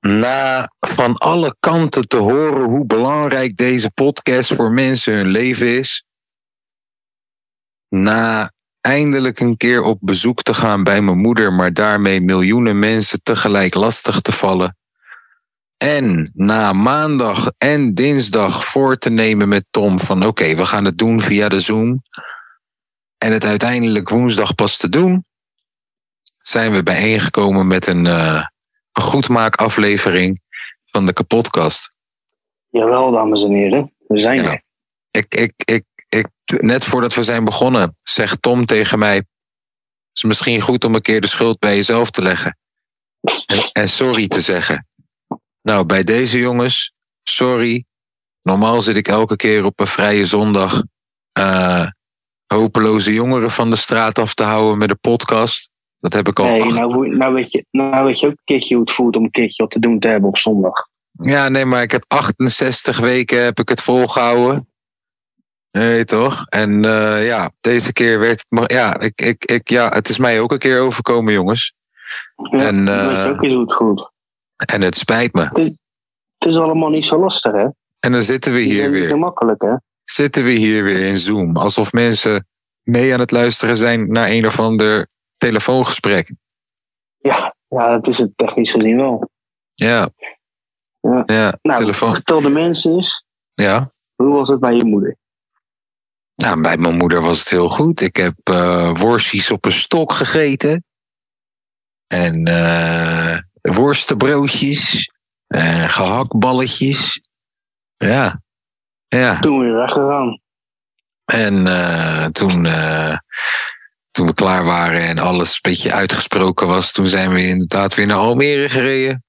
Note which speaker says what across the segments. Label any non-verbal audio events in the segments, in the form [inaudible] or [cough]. Speaker 1: Na van alle kanten te horen hoe belangrijk deze podcast voor mensen hun leven is. Na eindelijk een keer op bezoek te gaan bij mijn moeder, maar daarmee miljoenen mensen tegelijk lastig te vallen. En na maandag en dinsdag voor te nemen met Tom van oké, we gaan het doen via de Zoom. En het uiteindelijk woensdag pas te doen zijn we bijeengekomen met een, eh een goedmaakaflevering van de kapotkast.
Speaker 2: Jawel, dames en heren. We zijn
Speaker 1: Ja.
Speaker 2: er.
Speaker 1: Ik, ik, ik, ik, net voordat we zijn begonnen, zegt Tom tegen mij: Het is misschien goed om een keer de schuld bij jezelf te leggen. En, en sorry te zeggen. Nou, bij deze jongens, sorry. Normaal zit ik elke keer op een vrije zondag eh, hopeloze jongeren van de straat af te houden met de podcast. Dat heb ik al
Speaker 2: Nee,
Speaker 1: acht-
Speaker 2: nou, hoe- nou, weet je, nou weet je ook een keertje hoe het voelt om een keertje wat te doen te hebben op zondag.
Speaker 1: Ja, nee, maar ik heb 68 weken heb ik het volgehouden. Nee, toch? En eh, ja, deze keer werd het... maar- Ja, ik, ik, ik, ja, het is mij ook een keer overkomen, jongens.
Speaker 2: Ja,
Speaker 1: En,
Speaker 2: dan weet
Speaker 1: eh,
Speaker 2: je ook eens hoe het voelt.
Speaker 1: En het spijt me.
Speaker 2: Het is allemaal niet zo lastig, hè?
Speaker 1: En dan zitten we
Speaker 2: Het is
Speaker 1: hier
Speaker 2: niet zo
Speaker 1: weer.
Speaker 2: makkelijk, hè?
Speaker 1: Zitten we hier weer in Zoom. Alsof mensen mee aan het luisteren zijn naar een of ander telefoongesprek.
Speaker 2: Ja, ja, dat is het technisch gezien wel.
Speaker 1: Ja.
Speaker 2: Ja.
Speaker 1: Ja,
Speaker 2: Nou,
Speaker 1: telefoon.
Speaker 2: vertel de mensen eens,
Speaker 1: Ja.
Speaker 2: hoe was het bij je moeder?
Speaker 1: Nou, bij mijn moeder was het heel goed. Ik heb eh worstjes op een stok gegeten. En eh worstenbroodjes. En gehaktballetjes. Ja. Ja.
Speaker 2: Toen we weer weggegaan.
Speaker 1: En eh, toen, eh, toen we klaar waren en alles een beetje uitgesproken was, toen zijn we inderdaad weer naar Almere gereden.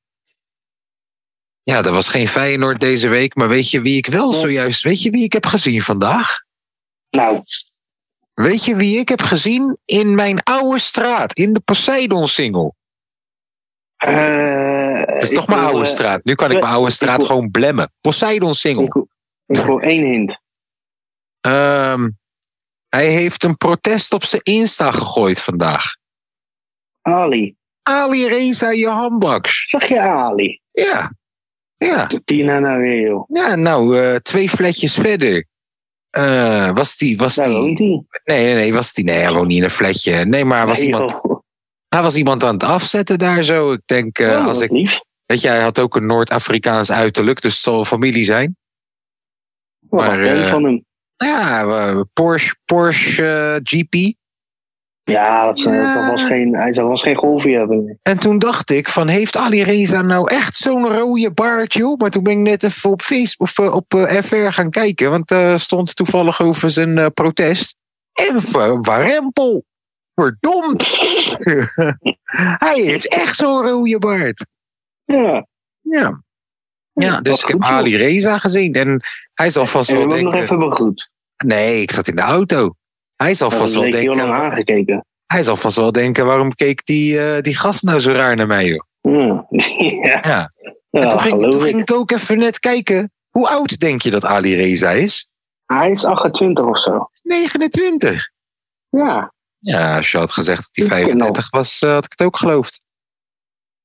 Speaker 1: Ja, er was geen Feyenoord deze week. Maar weet je wie ik wel zojuist. Weet je wie ik heb gezien vandaag?
Speaker 2: Nou,
Speaker 1: Weet je wie ik heb gezien? In mijn oude straat, in de Poseidon-single.
Speaker 2: eh,
Speaker 1: Dat is
Speaker 2: ik
Speaker 1: toch mijn
Speaker 2: wil,
Speaker 1: oude
Speaker 2: eh,
Speaker 1: straat. Nu kan ik
Speaker 2: eh,
Speaker 1: mijn oude straat
Speaker 2: wil-
Speaker 1: gewoon blemmen. Poseidon-single.
Speaker 2: Ik, ik wil één hint.
Speaker 1: Ehm, hij heeft een protest op zijn Insta gegooid vandaag.
Speaker 2: Ali.
Speaker 1: Ali Reza Jahanbaks.
Speaker 2: Zag je Ali?
Speaker 1: Ja. Ja.
Speaker 2: Tina nou weer, joh.
Speaker 1: Ja, nou, eh, twee flatjes verder. Eh, was die, was
Speaker 2: Daar
Speaker 1: die...
Speaker 2: woont hij.
Speaker 1: Nee, nee, nee, was die... Nee, hij woont niet in een flatje. Nee, maar was
Speaker 2: Nee,
Speaker 1: iemand,
Speaker 2: joh.
Speaker 1: hij was iemand aan het afzetten daar zo. Ik denk, eh,
Speaker 2: Oh,
Speaker 1: als
Speaker 2: wat
Speaker 1: ik
Speaker 2: lief.
Speaker 1: Weet je, hij had ook een Noord-Afrikaans uiterlijk, dus het zal familie zijn.
Speaker 2: Wat
Speaker 1: maar,
Speaker 2: een
Speaker 1: eh,
Speaker 2: van hem.
Speaker 1: Ja, eh, Porsche, Porsche eh, GP.
Speaker 2: Ja, dat, zou-
Speaker 1: Ja.
Speaker 2: dat was geen, hij zou was geen golfje hebben.
Speaker 1: En toen dacht ik van, heeft Ali Reza nou echt zo'n rode baard, joh? Maar toen ben ik net even op, Facebook, of, eh, op eh, FR gaan kijken, want eh stond toevallig over zijn eh, protest. En ver- warempel, verdomd. [laughs] hij heeft echt zo'n rode baard.
Speaker 2: Ja,
Speaker 1: Ja. Ja,
Speaker 2: dat
Speaker 1: dus ik heb
Speaker 2: goed, joh.
Speaker 1: Ali Reza gezien. En hij zal vast
Speaker 2: en we
Speaker 1: wel
Speaker 2: hebben hem
Speaker 1: denken...
Speaker 2: nog even begroet.
Speaker 1: Nee, ik zat in de auto. Hij zal
Speaker 2: Dat
Speaker 1: vast
Speaker 2: was
Speaker 1: wel
Speaker 2: Oh, heel lang
Speaker 1: denken.
Speaker 2: aangekeken.
Speaker 1: Hij zal vast wel denken, waarom keek die, eh, die gast nou zo raar naar mij, joh?
Speaker 2: Ja, [laughs] ja.
Speaker 1: Ja.
Speaker 2: ja
Speaker 1: en toen, ging, toen
Speaker 2: geloof
Speaker 1: ging
Speaker 2: ik.
Speaker 1: ik ook even net kijken. Hoe oud denk je dat Ali Reza is?
Speaker 2: Hij is 28 of zo.
Speaker 1: 29.
Speaker 2: Ja.
Speaker 1: Ja, als je had gezegd dat hij
Speaker 2: Ik ken hem.
Speaker 1: 35 was, eh, had ik het ook geloofd.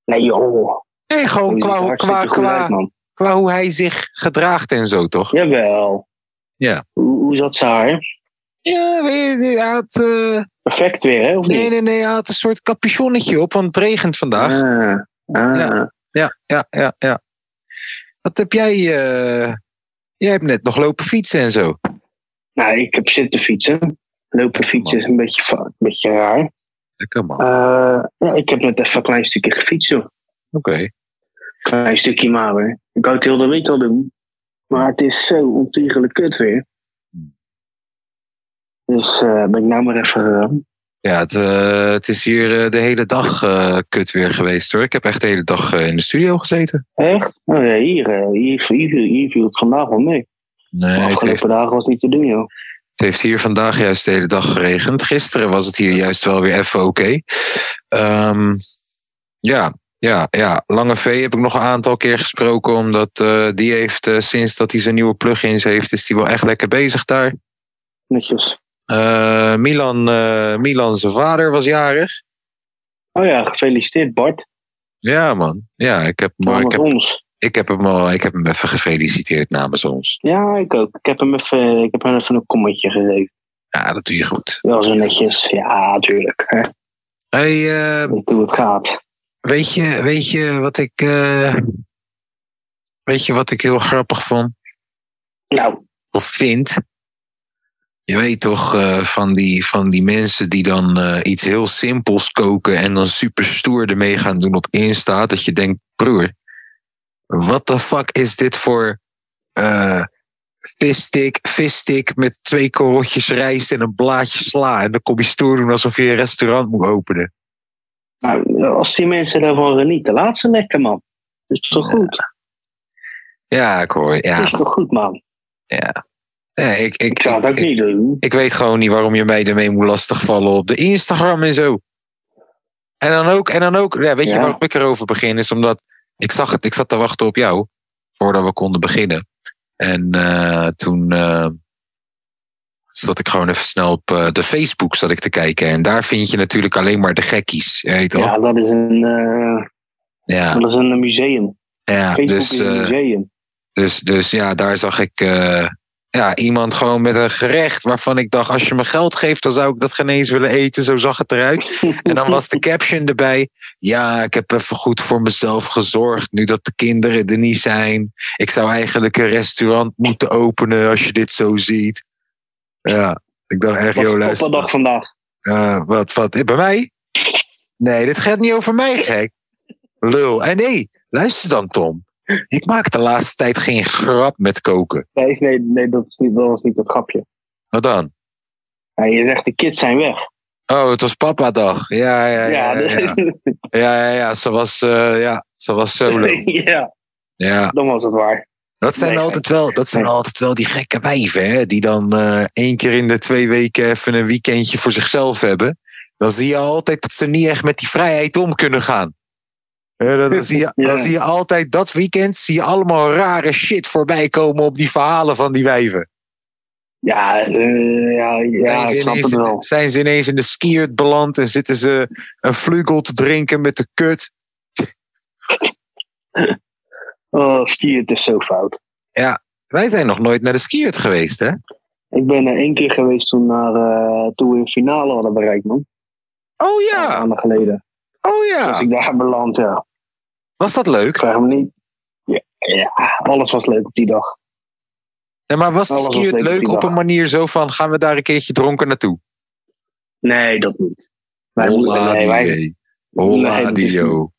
Speaker 2: Nee joh.
Speaker 1: Nee, gewoon
Speaker 2: Hij ziet er
Speaker 1: qua,
Speaker 2: hartstikke
Speaker 1: qua,
Speaker 2: goed
Speaker 1: qua,
Speaker 2: uit, man.
Speaker 1: qua hoe hij zich gedraagt en zo, toch?
Speaker 2: Jawel.
Speaker 1: Ja.
Speaker 2: Hoe, hoe zat ze haar?
Speaker 1: Ja, weet je, hij had, eh,
Speaker 2: Perfect weer, hè? Of niet?
Speaker 1: nee, nee, nee, hij had een soort capuchonnetje op, want het regent vandaag.
Speaker 2: Ah, ah.
Speaker 1: Ja. Ja, ja, ja, ja. Wat heb jij? eh, jij hebt net nog lopen fietsen en zo.
Speaker 2: Nou, ik heb zitten fietsen. Lopen fietsen is een beetje, fa- een beetje raar.
Speaker 1: Lekker man.
Speaker 2: Eh, ja, ik heb net even een klein stukje gefietst, joh.
Speaker 1: Oké.
Speaker 2: Klein stukje maar weer. Ik wou het heel de week al doen. Maar het is zo ontiegelijk kut weer. Dus eh, ben ik nou maar even gegaan.
Speaker 1: Ja, het, eh, het is hier eh, de hele dag eh, kut weer geweest hoor. Ik heb echt de hele dag eh, in de studio gezeten.
Speaker 2: Echt? Nou ja, hier, eh, hier, hier, viel- hier viel het vandaag wel mee.
Speaker 1: Nee,
Speaker 2: De
Speaker 1: het heeft,
Speaker 2: afgelopen dagen was het niet te doen, joh.
Speaker 1: het heeft hier vandaag juist de hele dag geregend. Gisteren was het hier juist wel weer even oké. Ehm, ja, ja, ja. Lange V heb ik nog een aantal keer gesproken. Omdat eh, die heeft eh, sinds dat hij zijn nieuwe plugins heeft, is hij wel echt lekker bezig daar.
Speaker 2: Netjes.
Speaker 1: Eh, Milan, eh, Milan zijn vader was jarig.
Speaker 2: Oh ja, gefeliciteerd Bart.
Speaker 1: Ja, man. Ja, ik heb, maar, ik
Speaker 2: namens
Speaker 1: heb,
Speaker 2: ons.
Speaker 1: ik heb, hem, al, ik heb hem even gefeliciteerd namens ons.
Speaker 2: Ja, ik ook. Ik heb hem even, ik heb hem even een kommetje gegeven.
Speaker 1: Ja, dat doe je goed.
Speaker 2: Wel zo netjes. Ja, tuurlijk. Hè.
Speaker 1: Hey, eh,
Speaker 2: Ik doe het gaat.
Speaker 1: weet, je, weet je wat ik. eh, weet je wat ik heel grappig vond?
Speaker 2: Nou,
Speaker 1: Of vind? Je weet toch eh, van, die, van die mensen die dan eh, iets heel simpels koken. en dan super stoer ermee gaan doen op Insta. Dat je denkt, broer, wat de fuck is dit voor. eh Visstick, visstick met twee korreltjes rijst en een blaadje sla. En dan kom je stoer doen alsof je een restaurant moet openen.
Speaker 2: nou, als die mensen daarvan genieten, laat ze lekker, man. Is toch goed?
Speaker 1: Ja, ik hoor. je. Ja.
Speaker 2: Is toch goed, man?
Speaker 1: Nee, ik, ik,
Speaker 2: Ik zou het ook
Speaker 1: ik,
Speaker 2: niet doen.
Speaker 1: ik weet gewoon niet waarom je mij ermee moet lastigvallen op de Instagram en zo. En dan ook, en dan ook ja, weet je
Speaker 2: Ja.
Speaker 1: waarom ik erover begin? Is omdat ik zag het, ik zat te wachten op jou voordat we konden beginnen. En eh, toen eh, zat ik gewoon even snel op eh, de Facebook zat ik te kijken. En daar vind je natuurlijk alleen maar de gekkies. Je weet toch? Ja,
Speaker 2: Ja, dat is een, eh,
Speaker 1: ja,
Speaker 2: dat is een museum. Facebook
Speaker 1: dus.
Speaker 2: is een
Speaker 1: eh,
Speaker 2: museum.
Speaker 1: Dus, dus ja, daar zag ik eh, ja, iemand gewoon met een gerecht waarvan ik dacht: als je me geld geeft, dan zou ik dat geen eens willen eten. Zo zag het eruit. En dan was de caption erbij: Ja, ik heb even goed voor mezelf gezorgd. Nu dat de kinderen er niet zijn. Ik zou eigenlijk een restaurant moeten openen als je dit zo ziet. Ja, ik dacht echt,
Speaker 2: Wat
Speaker 1: joh,
Speaker 2: een
Speaker 1: luister.
Speaker 2: toppendag vandaag.
Speaker 1: eh, wat, wat, eh, bij mij? Nee, dit gaat niet over mij, gek. Lul. En nee, luister dan, Tom. Ik maak de laatste tijd geen grap met koken.
Speaker 2: Nee, nee, nee dat, is niet, dat was niet het grapje.
Speaker 1: Wat dan?
Speaker 2: Ja, je zegt, de kids zijn weg.
Speaker 1: Oh, het was papa-dag. Ja, ja, ja.
Speaker 2: Ja,
Speaker 1: Ja, ja.
Speaker 2: dus-
Speaker 1: ja, ja, ja. Ze, was, eh, ja ze was solo.
Speaker 2: [laughs] ja,
Speaker 1: Ja.
Speaker 2: dan was het waar.
Speaker 1: Dat zijn,
Speaker 2: Nee,
Speaker 1: altijd, wel, dat zijn
Speaker 2: nee.
Speaker 1: altijd wel die gekke wijven, hè? Die dan eh, één keer in de twee weken even een weekendje voor zichzelf hebben. Dan zie je altijd dat ze niet echt met die vrijheid om kunnen gaan. Eh, dan,
Speaker 2: [laughs]
Speaker 1: dan zie je,
Speaker 2: Ja.
Speaker 1: dan zie je altijd dat weekend zie je allemaal rare shit voorbij komen op die verhalen van die wijven.
Speaker 2: Ja, eh, ja, ja
Speaker 1: zijn,
Speaker 2: ik
Speaker 1: ze
Speaker 2: snap
Speaker 1: ineens,
Speaker 2: het wel.
Speaker 1: zijn ze ineens in de skiert beland en zitten ze een vlugel te drinken met de kut.
Speaker 2: Oh, skiën, het is zo fout.
Speaker 1: Wij zijn nog nooit naar de skiert geweest, hè?
Speaker 2: Ik ben er één keer geweest toen, naar, eh, toen we een finale hadden bereikt, man.
Speaker 1: Oh
Speaker 2: Een paar
Speaker 1: ja,
Speaker 2: maanden geleden.
Speaker 1: oh
Speaker 2: Dat
Speaker 1: ja.
Speaker 2: ik daar beland, ja.
Speaker 1: Was dat
Speaker 2: Ik
Speaker 1: leuk?
Speaker 2: vraag me niet. Ja, ja, alles was leuk op die dag.
Speaker 1: Nee, maar was de
Speaker 2: Alles Nou, was
Speaker 1: skiert
Speaker 2: leuk op die
Speaker 1: leuk op
Speaker 2: dag.
Speaker 1: een manier zo van gaan we daar een keertje dronken naartoe?
Speaker 2: Nee, dat niet. Wij moeten, nee, wij,
Speaker 1: die, E. Holla
Speaker 2: Nee, dat is
Speaker 1: die, oh.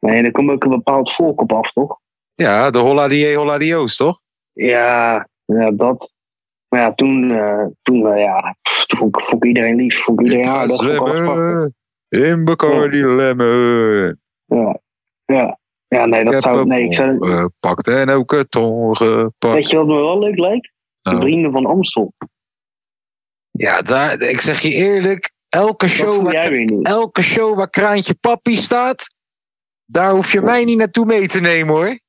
Speaker 2: nee, er komt ook een bepaald volk op af, toch?
Speaker 1: Ja, de Holla die, E, Holla die, O's, toch?
Speaker 2: Ja, ja dat. Maar ja, toen, eh, toen, eh, ja, pff, toen vond, ik, vond ik iedereen lief. Vond ik
Speaker 1: Ik
Speaker 2: iedereen
Speaker 1: ga
Speaker 2: aardig. vond ik alles prachtig.
Speaker 1: zwemmen in Bacardi Lemmen.
Speaker 2: Ja, ja. ja nee, dat
Speaker 1: ik
Speaker 2: zou.
Speaker 1: heb
Speaker 2: Nee, ik zou
Speaker 1: een bom gepakt en ook een tong gepakt.
Speaker 2: weet je wat me wel leuk lijkt? De
Speaker 1: eh, Nou.
Speaker 2: vrienden van Amstel.
Speaker 1: Ja, daar, ik zeg je eerlijk, elke
Speaker 2: Dat
Speaker 1: show,
Speaker 2: voel
Speaker 1: waar,
Speaker 2: jij weer niet.
Speaker 1: elke show waar Kraantje Papi staat, daar hoef je mij niet naartoe mee te nemen hoor.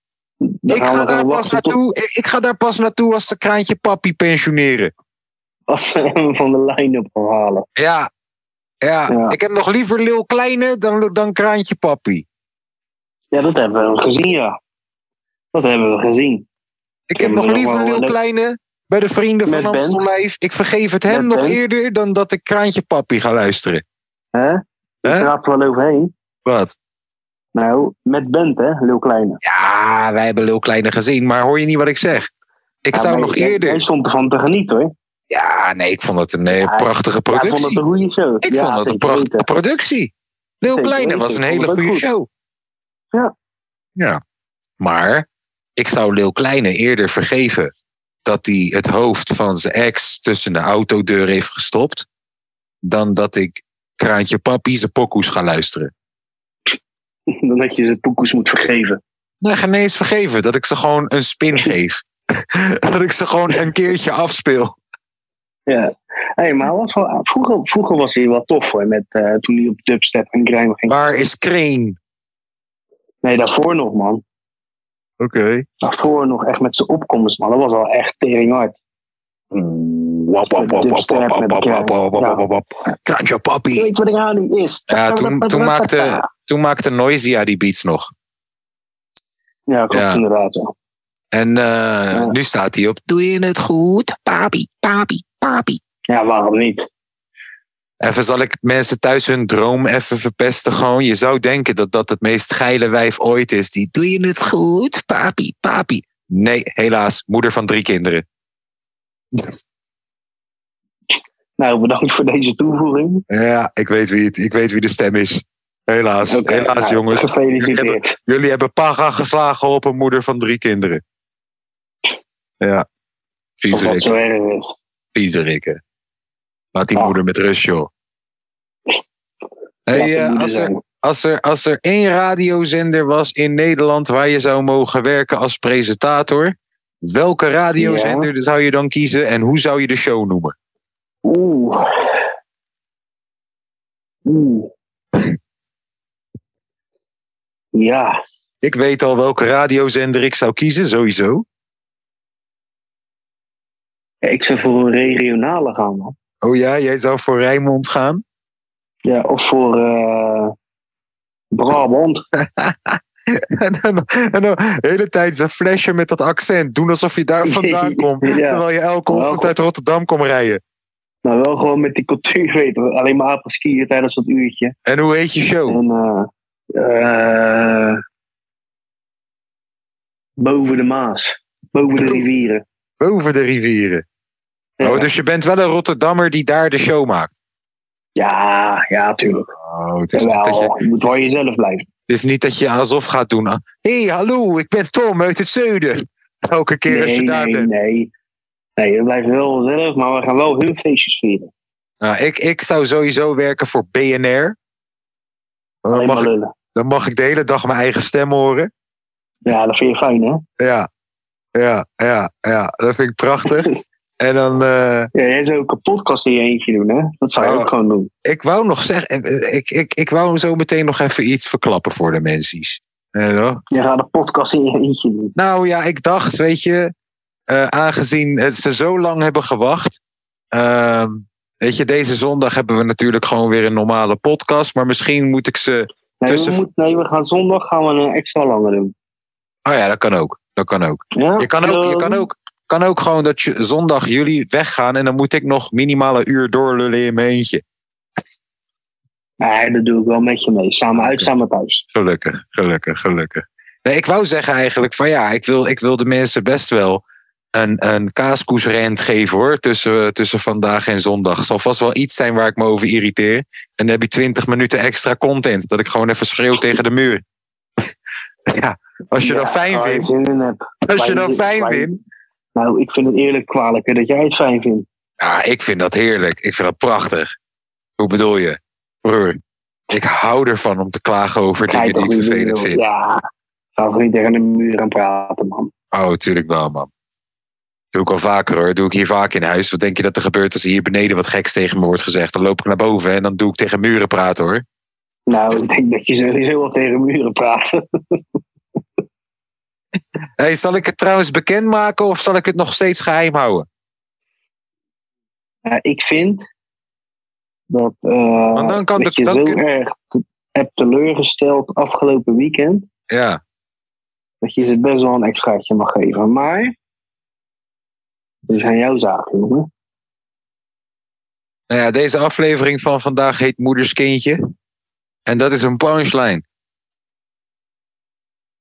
Speaker 2: Dan
Speaker 1: ik,
Speaker 2: gaan we
Speaker 1: ga daar
Speaker 2: gewoon
Speaker 1: pas
Speaker 2: wachten tot
Speaker 1: naartoe, ik, ik ga daar pas naartoe als de Kraantje Papi pensioneren.
Speaker 2: als ze hem van de lijn op halen.
Speaker 1: Ja, ja.
Speaker 2: Ja.
Speaker 1: ik heb nog liever Lil Kleine dan, dan Kraantje Papi.
Speaker 2: Ja, dat hebben we gezien, ja. Dat hebben we gezien.
Speaker 1: Ik
Speaker 2: Ja,
Speaker 1: heb nog
Speaker 2: maar dat
Speaker 1: liever
Speaker 2: wel
Speaker 1: Lil
Speaker 2: leuk.
Speaker 1: Kleine bij de vrienden van
Speaker 2: Met Ben.
Speaker 1: Amstel Live. Ik vergeef het hem
Speaker 2: Met
Speaker 1: nog
Speaker 2: Ben.
Speaker 1: eerder dan dat ik Kraantje Papi ga luisteren.
Speaker 2: Hè? Ik
Speaker 1: Hè?
Speaker 2: raap er wel overheen.
Speaker 1: Wat?
Speaker 2: Nou, met Bent, hè, Lil Kleine.
Speaker 1: Ja, wij hebben Lil Kleine gezien, maar hoor je niet wat ik zeg? Ik
Speaker 2: Ja,
Speaker 1: zou
Speaker 2: maar
Speaker 1: nog
Speaker 2: jij-
Speaker 1: eerder...
Speaker 2: Jij stond ervan te genieten, hoor.
Speaker 1: Ja, nee, ik vond het een eh, prachtige
Speaker 2: Ja, ik vond het
Speaker 1: productie.
Speaker 2: een goede show.
Speaker 1: Ik
Speaker 2: ja,
Speaker 1: vond het een
Speaker 2: zeker
Speaker 1: prachtige
Speaker 2: weten.
Speaker 1: productie. Lil
Speaker 2: Zeker
Speaker 1: Kleine
Speaker 2: weten,
Speaker 1: was een
Speaker 2: ik vond
Speaker 1: hele
Speaker 2: het ook
Speaker 1: goede
Speaker 2: goed.
Speaker 1: show.
Speaker 2: Ja.
Speaker 1: Ja. Maar ik zou Lil Kleine eerder vergeven dat hij het hoofd van zijn ex tussen de autodeur heeft gestopt, dan dat ik Kraantje Papi zijn pokoes gaan luisteren.
Speaker 2: [laughs] Dan had je ze poekoes moet vergeven.
Speaker 1: Nee, geen eens vergeven dat ik ze gewoon een spin
Speaker 2: [laughs]
Speaker 1: geef. [laughs] dat ik ze gewoon een keertje afspeel.
Speaker 2: Ja. Hey, maar hij was wel, vroeger, vroeger was hij wel tof hoor. Met, eh, toen hij op dubstep en grime ging.
Speaker 1: Waar is Kreen?
Speaker 2: Nee, daarvoor nog man.
Speaker 1: Oké.
Speaker 2: Daarvoor nog echt met zijn opkomst man. Dat was wel echt teringhard.
Speaker 1: Wap, wap, wap, wap, wap, wap, wap, wap, wap, wap, wap, wap. Kraantje
Speaker 2: Je
Speaker 1: Papi.
Speaker 2: weet wat ik aan nu is.
Speaker 1: Ja, toen, toen, maakte, toen maakte Noisia die beats nog.
Speaker 2: Ja, klopt
Speaker 1: Ja.
Speaker 2: inderdaad. ja.
Speaker 1: En eh, nu staat hij op. Doe je het goed? Papi, papi, papi.
Speaker 2: Ja, waarom niet?
Speaker 1: Even zal ik mensen thuis hun droom even verpesten gewoon. Je zou denken dat dat het meest geile wijf ooit is. Die doe je het goed, papi, papi. Nee, helaas, moeder van drie kinderen.
Speaker 2: Nou, bedankt voor deze toevoeging.
Speaker 1: Ja, ik weet wie, het, ik weet wie de stem [laughs] is. Helaas,
Speaker 2: Oké,
Speaker 1: helaas
Speaker 2: nou, [laughs]
Speaker 1: jongens.
Speaker 2: Gefeliciteerd.
Speaker 1: Jullie hebben paga geslagen op een moeder van drie kinderen. Ja,
Speaker 2: Of Oh, wat zo
Speaker 1: viezerikken,
Speaker 2: erg is.
Speaker 1: viezerikken. Laat die
Speaker 2: Ah.
Speaker 1: moeder met rust, joh.
Speaker 2: Laat de
Speaker 1: Hey, eh,
Speaker 2: moeder
Speaker 1: als, er,
Speaker 2: zijn.
Speaker 1: als er, als er één radiozender was in Nederland waar je zou mogen werken als presentator, welke radiozender zou je dan kiezen en hoe zou je de show noemen?
Speaker 2: Oeh. Oeh. Ja,
Speaker 1: Ik weet al welke radiozender ik zou kiezen, sowieso.
Speaker 2: ik zou voor een regionale gaan, man.
Speaker 1: Oh ja, jij zou voor Rijnmond gaan? [laughs]
Speaker 2: Ja, of voor eh,
Speaker 1: [laughs]
Speaker 2: Brabant.
Speaker 1: en dan, en dan de hele tijd zijn flesje met dat accent. Doen alsof je daar
Speaker 2: [laughs]
Speaker 1: vandaan komt.
Speaker 2: Ja.
Speaker 1: Terwijl je elke
Speaker 2: Nou,
Speaker 1: ochtend
Speaker 2: goed.
Speaker 1: uit Rotterdam komt rijden.
Speaker 2: Maar wel gewoon met die cultuur weten. Alleen maar apenskiën tijdens dat uurtje.
Speaker 1: En hoe heet je show?
Speaker 2: En eh, eh, boven de Maas. Boven de rivieren.
Speaker 1: Over de rivieren.
Speaker 2: Ja.
Speaker 1: Oh, dus je bent wel een Rotterdammer die daar de show maakt.
Speaker 2: Ja, ja, tuurlijk.
Speaker 1: Oh, het is niet dat je,
Speaker 2: Jawel, je moet wel jezelf blijven.
Speaker 1: Het is niet dat je alsof gaat doen. ah. Hé, hey, hallo, ik ben Tom uit het zuiden. [laughs] Elke keer als je
Speaker 2: nee,
Speaker 1: daar
Speaker 2: nee,
Speaker 1: bent.
Speaker 2: nee. Nee, we blijven wel zelf, maar we gaan wel hun feestjes vieren.
Speaker 1: Nou, ik, ik zou sowieso werken voor BNR. Dan
Speaker 2: Alleen
Speaker 1: mag,
Speaker 2: maar
Speaker 1: ik,
Speaker 2: lullen.
Speaker 1: dan mag ik de hele dag mijn eigen stem horen.
Speaker 2: Ja, dat vind je fijn, hè?
Speaker 1: Ja, ja, ja, ja. Dat vind ik
Speaker 2: [laughs]
Speaker 1: prachtig. En dan, eh,
Speaker 2: Ja, jij zou ook een podcast in je eentje doen, hè? Dat zou je
Speaker 1: Oh.
Speaker 2: ook gewoon doen.
Speaker 1: ik wou nog zeggen, eh, ik, ik, ik wou zo meteen nog even iets verklappen voor de mensen. Eh,
Speaker 2: Je gaat een podcast in je eentje doen.
Speaker 1: Nou ja, ik dacht, weet je, eh, aangezien het- ze zo lang hebben gewacht. ehm, weet je, deze zondag hebben we natuurlijk gewoon weer een normale podcast. Maar misschien moet ik ze.
Speaker 2: Nee,
Speaker 1: Tussen-
Speaker 2: we moet, nee, we gaan zondag gaan we een extra lange doen.
Speaker 1: Oh ja, dat kan ook. Dat kan ook.
Speaker 2: Ja?
Speaker 1: Je kan ook, je kan ook, kan ook gewoon dat je zondag jullie weggaan. En dan moet ik nog minimaal een uur doorlullen in mijn eentje.
Speaker 2: Nee, dat doe ik wel met je mee. Samen uit,
Speaker 1: Oké.
Speaker 2: samen thuis.
Speaker 1: Gelukkig, gelukkig, gelukkig. Nee, ik wou zeggen eigenlijk van ja, ik wil, ik wil de mensen best wel een, een kaaskoesrent geven hoor. Tussen, tussen vandaag en zondag. Zal vast wel iets zijn waar ik me over irriteer. En dan heb je twintig minuten extra content. Dat ik gewoon even schreeuw tegen de muur. [laughs] ja, als je
Speaker 2: Ja, oh,
Speaker 1: dat fijn
Speaker 2: waar ik
Speaker 1: vindt.
Speaker 2: zin in heb.
Speaker 1: Als je
Speaker 2: waar
Speaker 1: dat
Speaker 2: je-
Speaker 1: fijn
Speaker 2: waar je-
Speaker 1: vindt.
Speaker 2: Nou, ik vind het eerlijk kwalijk hè, dat jij het fijn vindt.
Speaker 1: Ja, ik vind dat heerlijk. Ik vind dat prachtig. Hoe bedoel je? Broer, ik hou ervan om te klagen over
Speaker 2: Ga
Speaker 1: dingen
Speaker 2: je
Speaker 1: die ik
Speaker 2: toch niet
Speaker 1: vervelend
Speaker 2: doen,
Speaker 1: vind.
Speaker 2: joh. Ja, ga toch niet tegen de muur aan praten, man.
Speaker 1: Oh, tuurlijk wel, man. Doe ik al vaker hoor. Doe ik hier vaak in huis. Wat denk je dat er gebeurt als hier beneden wat geks tegen me wordt gezegd? Dan loop ik naar boven en dan doe ik tegen muren praten hoor.
Speaker 2: Nou, ik denk dat je sowieso wel tegen muren praat.
Speaker 1: Hey, zal ik het trouwens bekendmaken of zal ik het nog steeds geheim houden?
Speaker 2: Ja, ik vind dat, eh,
Speaker 1: Want dan kan
Speaker 2: dat
Speaker 1: de-
Speaker 2: je
Speaker 1: dan
Speaker 2: zo
Speaker 1: kun-
Speaker 2: erg te- hebt teleurgesteld afgelopen weekend,
Speaker 1: Ja.
Speaker 2: dat je ze best wel een extraatje mag geven. Maar, dat is aan jouw zaak, jongen.
Speaker 1: Nou ja, deze aflevering van vandaag heet Moederskindje. En dat is een punchline.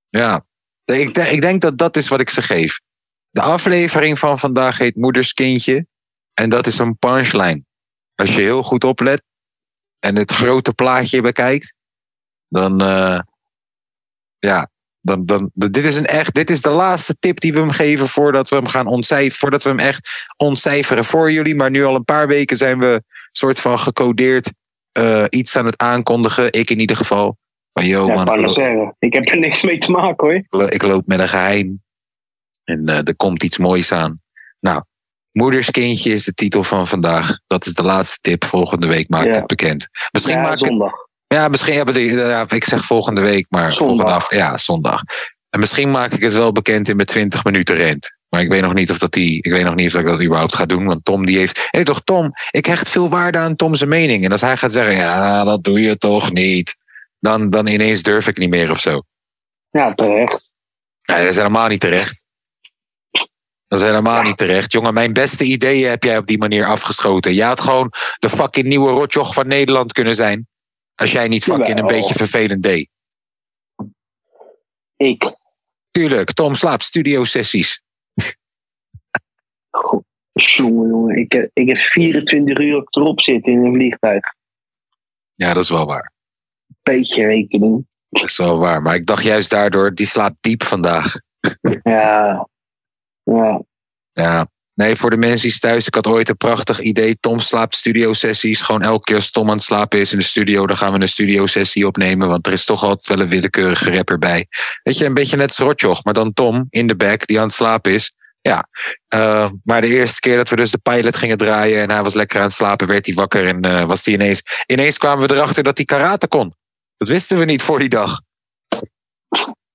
Speaker 1: Ja. Ik, denk- ik denk dat dat is wat ik ze geef. De aflevering van vandaag heet Moederskindje. En dat is een punchline. Als je heel goed oplet en het grote plaatje bekijkt, dan. eh, ja, dan, dan, dit, is een echt, dit is de laatste tip die we hem geven voordat we hem gaan ontcijferen. Voordat we hem echt ontcijferen voor jullie. Maar nu al een paar weken zijn we soort van gecodeerd. eh, eh, iets aan het aankondigen. Ik in ieder geval. Van yo
Speaker 2: Ja, ik
Speaker 1: Oh, man,
Speaker 2: wou
Speaker 1: ik
Speaker 2: net
Speaker 1: loop,
Speaker 2: zeggen. Ik heb er niks mee te maken hoor.
Speaker 1: ik loop met een geheim. En eh, er komt iets moois aan. Nou, Moederskindje is de titel van vandaag. Dat is de laatste tip. Volgende week maak ik
Speaker 2: Ja.
Speaker 1: het bekend. Misschien
Speaker 2: Ja,
Speaker 1: maak ik het
Speaker 2: zondag.
Speaker 1: ja, misschien hebben die. Ja, ik zeg volgende week, maar
Speaker 2: Zondag.
Speaker 1: volgende af, Ja, zondag. En misschien maak ik het wel bekend in mijn 20 minuten rent. Maar ik weet nog niet of dat die. Ik weet nog niet of ik dat überhaupt ga doen. Want Tom die heeft. Hé toch, Tom, ik hecht veel waarde aan Tom zijn mening. En als hij gaat zeggen, ja, dat doe je toch niet. Dan, dan ineens durf ik niet meer of zo.
Speaker 2: Ja, terecht.
Speaker 1: Nee, dat is helemaal niet terecht. Dat is helemaal niet terecht. Jongen, mijn beste ideeën heb jij op die manier afgeschoten. Je had gewoon de fucking nieuwe rotjoch van Nederland kunnen zijn. Als jij niet fucking een
Speaker 2: Jawel.
Speaker 1: beetje vervelend deed.
Speaker 2: Ik.
Speaker 1: Tuurlijk, Tom slaapt studio sessies.
Speaker 2: Goh, Jongen, jongen. Ik, heb- ik heb 24 uur op erop zitten in een vliegtuig.
Speaker 1: Ja, dat is wel waar.
Speaker 2: Beetje rekening.
Speaker 1: Dat is wel waar. Maar ik dacht juist daardoor, die slaapt diep vandaag.
Speaker 2: Ja. Ja.
Speaker 1: Ja. Nee, voor de mensen die thuis, ik had ooit een prachtig idee. Tom slaapt studio sessies. Gewoon elke keer als Tom aan het slapen is in de studio, dan gaan we een studio sessie opnemen. Want er is toch altijd wel een willekeurige rapper bij. Weet je, een beetje net als Rotjoch, maar dan Tom in de back die aan het slapen is. Ja, eh, maar de eerste keer dat we dus de pilot gingen draaien en hij was lekker aan het slapen, werd hij wakker en eh, was hij ineens. Ineens kwamen we erachter dat hij karate kon. Dat wisten we niet voor die dag.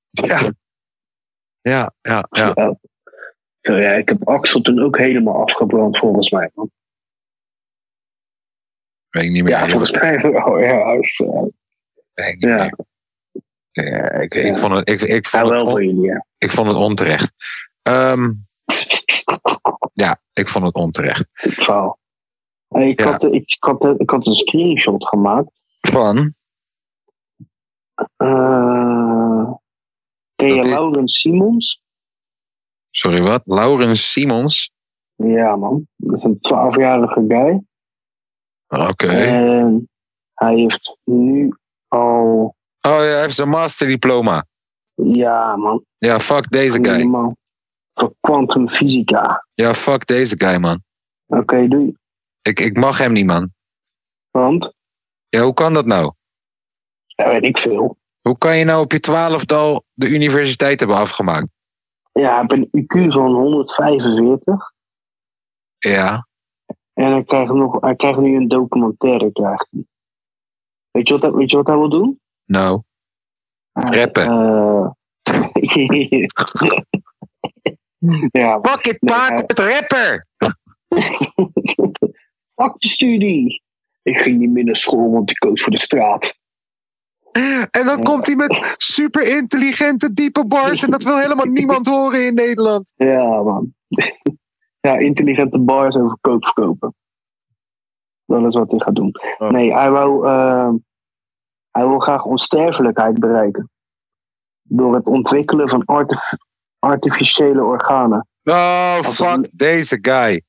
Speaker 1: Ja. Ja, ja, ja.
Speaker 2: Zo, ja, ik heb Axel toen ook helemaal afgebrand, volgens mij. man.
Speaker 1: Weet ik niet meer.
Speaker 2: Ja,
Speaker 1: jongen.
Speaker 2: volgens mij. wel, ja, is, eh,
Speaker 1: Nee, ik niet
Speaker 2: Ja.
Speaker 1: meer. Ja, ik, ik
Speaker 2: Ja.
Speaker 1: vond het, ik, ik,
Speaker 2: ja,
Speaker 1: vond
Speaker 2: wel
Speaker 1: het
Speaker 2: voor
Speaker 1: on-
Speaker 2: jullie, ja.
Speaker 1: ik vond het onterecht. Ehm, ja, ik vond het onterecht.
Speaker 2: Ik faal. Hey, ik,
Speaker 1: Ja.
Speaker 2: had, eh, ik, had, ik had een screenshot gemaakt.
Speaker 1: Van?
Speaker 2: Eh ken je
Speaker 1: Dat is-
Speaker 2: Laurens Simons?
Speaker 1: Sorry, wat? Laurens Simons?
Speaker 2: Ja, man. Dat is een 12-jarige guy.
Speaker 1: Ah, Oké.
Speaker 2: Eh. En hij heeft nu al.
Speaker 1: Oh ja, hij heeft zijn masterdiploma.
Speaker 2: Ja, man.
Speaker 1: Ja, fuck deze guy.
Speaker 2: helemaal Voor kwantumfysica.
Speaker 1: Ja, fuck deze guy, man.
Speaker 2: Oké, doei.
Speaker 1: Ik, ik mag hem niet, man.
Speaker 2: Want.
Speaker 1: Ja, hoe kan dat nou?
Speaker 2: Ja, weet ik veel.
Speaker 1: Hoe kan je nou op je twaalfde al de universiteit hebben afgemaakt?
Speaker 2: Ja, ik heb een IQ van 145.
Speaker 1: Ja.
Speaker 2: En hij krijgt, nog, hij krijgt nu een documentaire. Krijgt hij. Weet, je wat, hij- weet je wat hij wil doen?
Speaker 1: Nou,
Speaker 2: Hij-
Speaker 1: Rappen.
Speaker 2: eh, [laughs] ja,
Speaker 1: fuck it,
Speaker 2: Nee,
Speaker 1: paard
Speaker 2: hij-
Speaker 1: met rapper!
Speaker 2: fuck de studie. Ik ging niet meer naar school, want ik koos voor de straat.
Speaker 1: En dan komt hij met super intelligente, diepe bars. En dat wil helemaal niemand horen in Nederland.
Speaker 2: Ja, man. [laughs] ja, intelligente bars over koop verkopen. Dat is wat hij gaat doen.
Speaker 1: Oh.
Speaker 2: Nee, hij wil, hij wil graag onsterfelijkheid bereiken. Door het ontwikkelen van artif- artificiële organen.
Speaker 1: Oh,
Speaker 2: het
Speaker 1: fuck
Speaker 2: lukt-
Speaker 1: deze guy.
Speaker 2: Als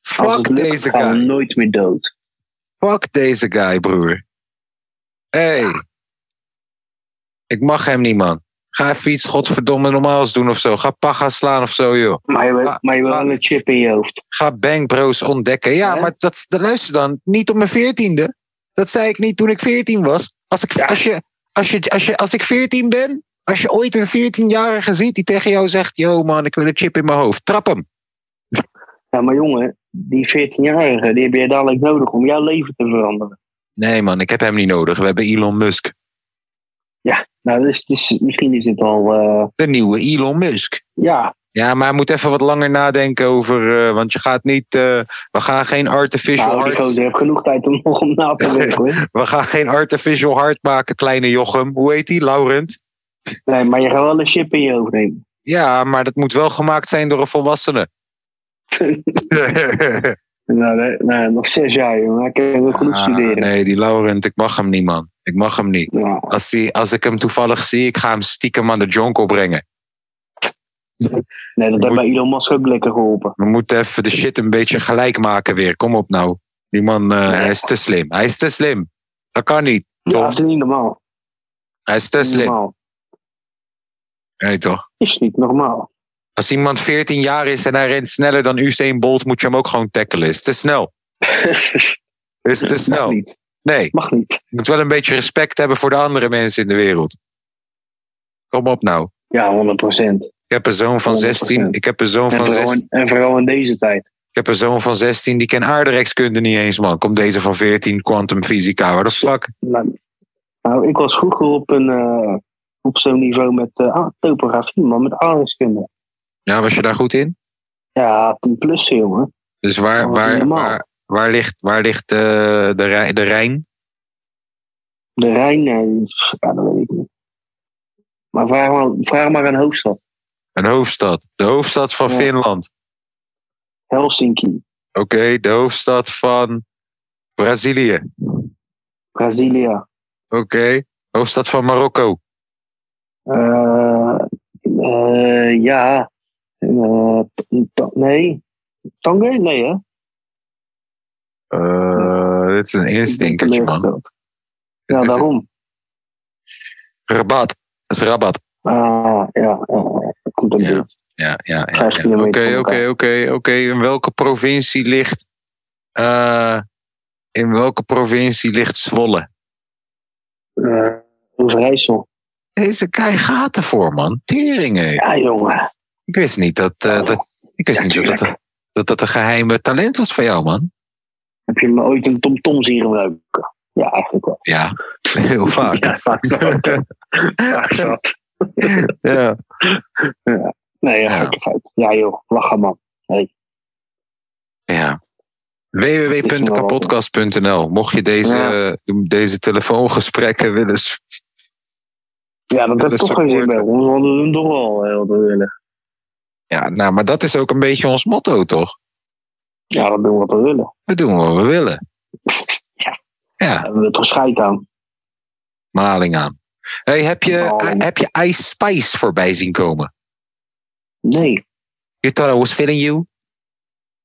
Speaker 1: Fuck
Speaker 2: het lukt,
Speaker 1: deze
Speaker 2: gaan we
Speaker 1: guy.
Speaker 2: nooit meer dood.
Speaker 1: Fuck deze guy, broer. Hey. Ik mag hem niet, man. Ga even iets godverdomme normaals doen of zo. Ga paga slaan of zo, joh.
Speaker 2: Maar je, wil-
Speaker 1: Maar-
Speaker 2: maar je wil
Speaker 1: maar-
Speaker 2: wel een chip in je hoofd.
Speaker 1: Ga bangbro's ontdekken. Ja,
Speaker 2: Hè?
Speaker 1: maar dat, dat luister dan. Niet op mijn veertiende. Dat zei ik niet toen ik veertien was. Als ik, als, je, als, je, als, je, als ik veertien ben, als je ooit een veertienjarige ziet die tegen jou zegt... Yo man, ik wil een chip in mijn hoofd. Trap hem.
Speaker 2: Ja, maar jongen, die 14-jarige, die heb je dadelijk nodig om jouw leven te veranderen.
Speaker 1: Nee man, ik heb hem niet nodig. We hebben Elon Musk.
Speaker 2: Nou, dus, dus misschien is het al... eh,
Speaker 1: De nieuwe Elon Musk.
Speaker 2: ja,
Speaker 1: Ja, maar hij moet even wat langer nadenken over. eh, want je gaat niet. eh, we gaan geen artificial
Speaker 2: nou, die
Speaker 1: heart.
Speaker 2: gozer heeft genoeg tijd om nog om na te denken. hoor.
Speaker 1: We gaan geen artificial heart maken, kleine Jochem. Hoe heet die? Laurent.
Speaker 2: Nee, maar je gaat wel een chip in je hoofd nemen.
Speaker 1: Ja, maar dat moet wel gemaakt zijn door een
Speaker 2: [laughs]
Speaker 1: volwassene.
Speaker 2: Nou, nee, nee, nog zes jaar, jongen. Ik heb wel genoeg
Speaker 1: Ah,
Speaker 2: studeren.
Speaker 1: nee, die Laurent, ik mag hem niet, man. Ik mag hem niet.
Speaker 2: Ja,
Speaker 1: Als, die, als ik hem toevallig zie, ik ga hem stiekem aan de jonko brengen.
Speaker 2: nee, dat heeft
Speaker 1: Moet-
Speaker 2: bij Elon Musk ook lekker geholpen.
Speaker 1: We moeten even de shit een beetje gelijk maken weer. Kom op nou. Die man, eh, hij is te slim. Hij is te slim. Dat kan niet.
Speaker 2: Ja,
Speaker 1: Tom.
Speaker 2: dat is niet normaal.
Speaker 1: Hij is te
Speaker 2: Niet
Speaker 1: slim.
Speaker 2: normaal.
Speaker 1: Nee, toch?
Speaker 2: Is niet normaal.
Speaker 1: Als iemand 14 jaar is en hij rent sneller
Speaker 2: [laughs]
Speaker 1: dan Usain Bolt, moet je hem ook gewoon tackelen. Is te snel. Is te
Speaker 2: Dat
Speaker 1: snel.
Speaker 2: niet.
Speaker 1: Nee,
Speaker 2: Mag niet.
Speaker 1: je moet wel een beetje respect hebben voor de andere mensen in de wereld. Kom op nou.
Speaker 2: Ja, 100 procent.
Speaker 1: Ik heb een zoon van 16.
Speaker 2: 100%.
Speaker 1: Ik heb een zoon
Speaker 2: En,
Speaker 1: van
Speaker 2: vooral
Speaker 1: 16.
Speaker 2: in- en vooral in deze tijd.
Speaker 1: Ik heb een zoon van 16. Die kent aardrijkskunde niet eens, man. Komt deze van 14, kwantumfysica. Waar de fuck?
Speaker 2: Nou, nou, ik was vroeger op, een, eh, op zo'n niveau met eh, ah, topografie, man, met aardrijkskunde.
Speaker 1: Ja, was je daar goed in?
Speaker 2: Ja, 10 plus, jongen.
Speaker 1: Dus waar,
Speaker 2: Oh,
Speaker 1: waar,
Speaker 2: helemaal.
Speaker 1: waar, waar ligt, waar ligt eh, de, Rijn, de Rijn?
Speaker 2: De Rijn, eh, pff, ja, dat weet ik niet. Maar vraag maar, vraag maar een hoofdstad.
Speaker 1: Een hoofdstad. De hoofdstad van
Speaker 2: Ja.
Speaker 1: Finland.
Speaker 2: Helsinki,
Speaker 1: Oké, de hoofdstad van Brazilië.
Speaker 2: Brazilia,
Speaker 1: Oké. Hoofdstad van Marokko.
Speaker 2: eh, eh, ja, eh, Ta- nee, Tanger? Nee, hè?
Speaker 1: Eh, dit is een instinkertje, man.
Speaker 2: Ja, daarom.
Speaker 1: Rabat. Dat is Rabat.
Speaker 2: Ah, ja, ja, dat komt een
Speaker 1: Ja.
Speaker 2: beetje.
Speaker 1: Ja, ja, ja.
Speaker 2: Vijf
Speaker 1: ja.
Speaker 2: kilometer
Speaker 1: Oké,
Speaker 2: van
Speaker 1: oké,
Speaker 2: elkaar.
Speaker 1: oké, oké. In welke provincie ligt... eh, in welke provincie ligt Zwolle?
Speaker 2: Eh, Overijssel.
Speaker 1: Deze kei gaat ervoor, man. Teringen.
Speaker 2: Ja, jongen.
Speaker 1: Ik wist niet dat eh, dat, ik wist
Speaker 2: Ja,
Speaker 1: niet dat, dat,
Speaker 2: tuurlijk.
Speaker 1: dat dat een geheime talent was van jou, man.
Speaker 2: Heb je me ooit een tomtom zien gebruiken? Ja, eigenlijk wel.
Speaker 1: Ja, heel [laughs] vaak.
Speaker 2: Ja, vaak zat. Vaak zat.
Speaker 1: ja.
Speaker 2: Nee, ja,
Speaker 1: Ja.
Speaker 2: gekkigheid. Ja, joh. Lachen, man.
Speaker 1: ja. www.kapodcast.nl Mocht je deze, deze telefoongesprekken willen... s-
Speaker 2: Ja, dat
Speaker 1: Dat
Speaker 2: heeft
Speaker 1: is
Speaker 2: toch geen zin bij
Speaker 1: supporten.
Speaker 2: ons. Want we doen toch al heel willen.
Speaker 1: Ja, nou, maar dat is ook een beetje ons motto, toch?
Speaker 2: Ja, dat doen we wat we willen.
Speaker 1: We doen wat we willen.
Speaker 2: Daar hebben we toch scheid aan.
Speaker 1: Maling aan. Hey, heb, je, eh,
Speaker 2: Maling.
Speaker 1: heb je Ice Spice voorbij zien komen?
Speaker 2: Nee.
Speaker 1: You thought I was feeling you?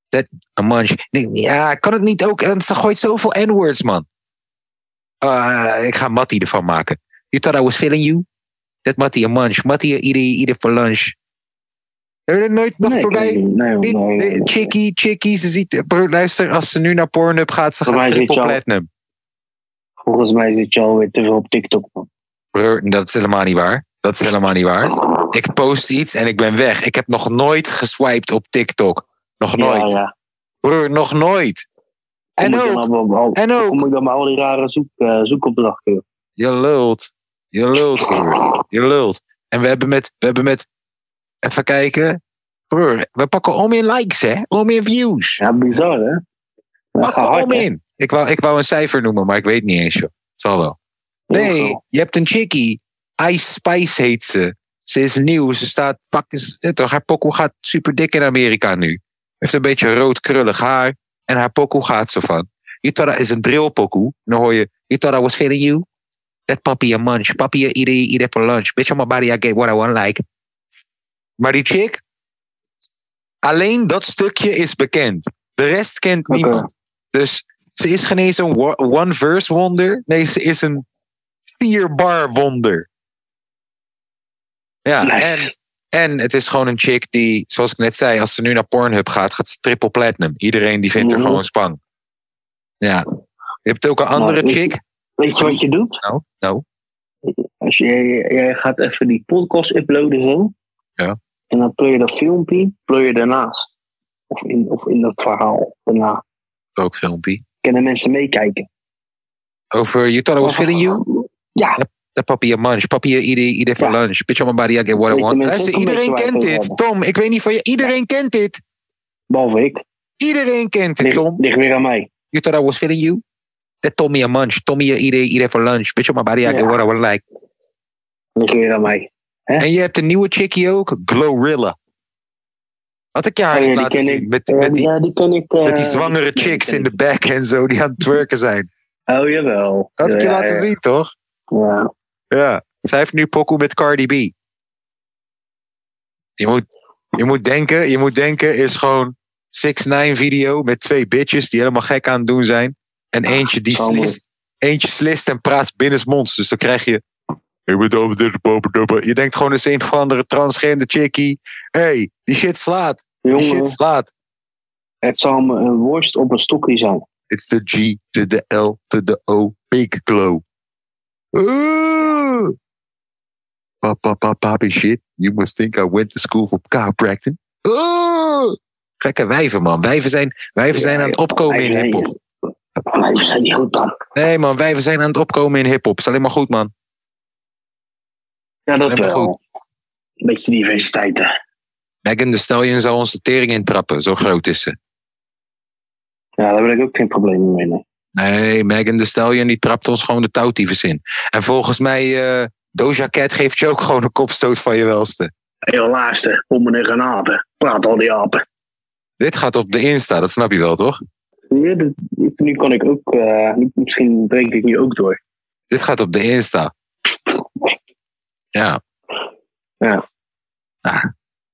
Speaker 1: That a munch. Nee, Ja, kan het niet ook? En Ze gooit zoveel N-words, man. Ah, ik ga Mattie ervan maken. You thought I was feeling you? That Mattie a munch. Mattie ieder ieder voor lunch. Heb je er nooit nog
Speaker 2: nee,
Speaker 1: voorbij?
Speaker 2: Nee, nee,
Speaker 1: Niet,
Speaker 2: nee, nee, nee.
Speaker 1: eh, Chickie, Chickie, ze ziet, bro, luister, als ze nu naar Pornhub gaat, ze
Speaker 2: Voor
Speaker 1: gaat
Speaker 2: mij zit
Speaker 1: triple
Speaker 2: je al-
Speaker 1: platinum.
Speaker 2: Volgens mij zit je alweer te veel op TikTok, man.
Speaker 1: Bro, dat is helemaal niet waar. Dat is helemaal niet waar. Ik post iets en ik ben weg. Ik heb nog nooit geswiped op TikTok. Nog nooit.
Speaker 2: Ja, ja.
Speaker 1: Broer, nog nooit.
Speaker 2: Kom
Speaker 1: En
Speaker 2: ik dan
Speaker 1: ook,
Speaker 2: allemaal- al-
Speaker 1: en ook.
Speaker 2: Kom ik dan maar al die rare zoek, eh, zoekopdrachten, joh.
Speaker 1: je lult. Je lult, broer. Je lult. En we hebben met, we hebben met, even kijken. Broer, we pakken om in likes, hè? Om in views.
Speaker 2: Ja, bizar, hè? Ja, ga
Speaker 1: Pakken
Speaker 2: hard,
Speaker 1: om
Speaker 2: hè?
Speaker 1: in. Ik wou, ik wou een cijfer noemen, maar ik weet niet eens, joh. Het zal wel. Nee, je hebt een chickie. Ice Spice heet ze. Ze is nieuw. Ze staat fucking. eh, toch, Haar pokoe gaat super dik in Amerika nu. Heeft een beetje rood krullig haar. En haar pokoe gaat ze van. You thought I- is een drill pokoe. En dan hoor je. You thought I was feeling you? That puppy a munch. Puppy a eat, eat, eat for lunch. Bitch on my body, I get what I want like. Maar die chick. Alleen dat stukje is bekend. De rest kent
Speaker 2: Oké.
Speaker 1: niemand. Dus ze is geen eens een wo- one verse wonder. Nee, ze is een vier bar wonder. Ja,
Speaker 2: Nice.
Speaker 1: en, en het is gewoon een chick die, zoals ik net zei, als ze nu naar Pornhub gaat, gaat ze triple platinum. Iedereen die vindt haar
Speaker 2: Mhm. Nou,
Speaker 1: gewoon spang. Ja. Je hebt ook een andere
Speaker 2: ik-
Speaker 1: chick.
Speaker 2: Weet je wat je doet?
Speaker 1: Nou, nou.
Speaker 2: Als jij, jij gaat even die podcast uploaden zo.
Speaker 1: Ja.
Speaker 2: En dan pleur je dat filmpje, pleur je daarnaast. Of in, of in dat verhaal daarna.
Speaker 1: Ook filmpje.
Speaker 2: Kunnen mensen meekijken.
Speaker 1: Over You Thought I Was Feeling You?
Speaker 2: Ja,
Speaker 1: De papi a munch. Papi a ieder, ieder for
Speaker 2: Ja.
Speaker 1: lunch. Bitch on my body, I get what I
Speaker 2: Weten
Speaker 1: want.
Speaker 2: mensen
Speaker 1: Luister,
Speaker 2: ook een
Speaker 1: iedereen
Speaker 2: beetje waar
Speaker 1: kent
Speaker 2: het over
Speaker 1: dit.
Speaker 2: hebben.
Speaker 1: Tom, ik weet niet van je. Iedereen kent dit.
Speaker 2: behalve ik.
Speaker 1: Iedereen kent dit,
Speaker 2: Ligt
Speaker 1: Tom.
Speaker 2: ligt weer aan mij.
Speaker 1: You thought I was feeling you? That Tommy a munch. Tommy a eat it, eat it for lunch. Bitch on my body, I get
Speaker 2: Ja.
Speaker 1: what I would like.
Speaker 2: Ligt weer aan mij.
Speaker 1: En je hebt een nieuwe chickie ook, Glorilla. Had ik je haar
Speaker 2: Oh ja,
Speaker 1: niet
Speaker 2: die
Speaker 1: laten
Speaker 2: ken ik.
Speaker 1: zien. Met,
Speaker 2: Ja,
Speaker 1: met,
Speaker 2: die,
Speaker 1: die,
Speaker 2: ja, die ken ik. eh,
Speaker 1: met die zwangere
Speaker 2: die ken
Speaker 1: chicks
Speaker 2: ik.
Speaker 1: in de back en zo, die aan het twerken zijn.
Speaker 2: Oh, jawel.
Speaker 1: Had ik je
Speaker 2: Ja,
Speaker 1: laten
Speaker 2: ja,
Speaker 1: zien, toch?
Speaker 2: Ja.
Speaker 1: Ja. Zij heeft nu pokoe met Cardi B. Je moet, je moet denken, je moet denken is gewoon 6 9 video met twee bitches die helemaal gek aan het doen zijn. En eentje die
Speaker 2: zo mooi.
Speaker 1: slist, eentje slist en praat binnensmonds. Dus dan krijg je... Ik ben dope, dit, bope, dope. Je denkt gewoon eens een of andere transgender chickie. Hé, hey, die shit slaat. Die shit
Speaker 2: Jongen,
Speaker 1: slaat.
Speaker 2: het zal me een worst op een stokje zijn.
Speaker 1: It's the G to the L to the O. Big glow. Ooh. Pop, pop, pop, poppy shit. You must think I went to school for chiropractic. Ooh. Gekke wijven, man. Wijven zijn, wijven zijn aan het opkomen in hiphop.
Speaker 2: Maar die zijn niet goed dan.
Speaker 1: Nee, man. Wijven zijn aan het opkomen in hiphop. Is alleen maar goed, man.
Speaker 2: Ja, dat
Speaker 1: Nee, maar
Speaker 2: wel.
Speaker 1: goed.
Speaker 2: Een beetje diversiteit, hè.
Speaker 1: Megan de Stallion zou onze tering intrappen. Zo groot is ze.
Speaker 2: Ja, daar wil ik ook geen problemen mee. nee.
Speaker 1: Nee, Megan de Stallion die trapt ons gewoon de touwtiefes in. En volgens mij, eh Doja Cat geeft je ook gewoon een kopstoot van je welste.
Speaker 2: Heel laatste, om en granaten. Praat al die apen.
Speaker 1: Dit gaat op de Insta, dat snap je wel, toch?
Speaker 2: Ja, dat- nu kan ik ook, eh, nu- misschien breek ik nu ook door.
Speaker 1: Dit gaat op de Insta. Ja.
Speaker 2: Ja.
Speaker 1: Ah,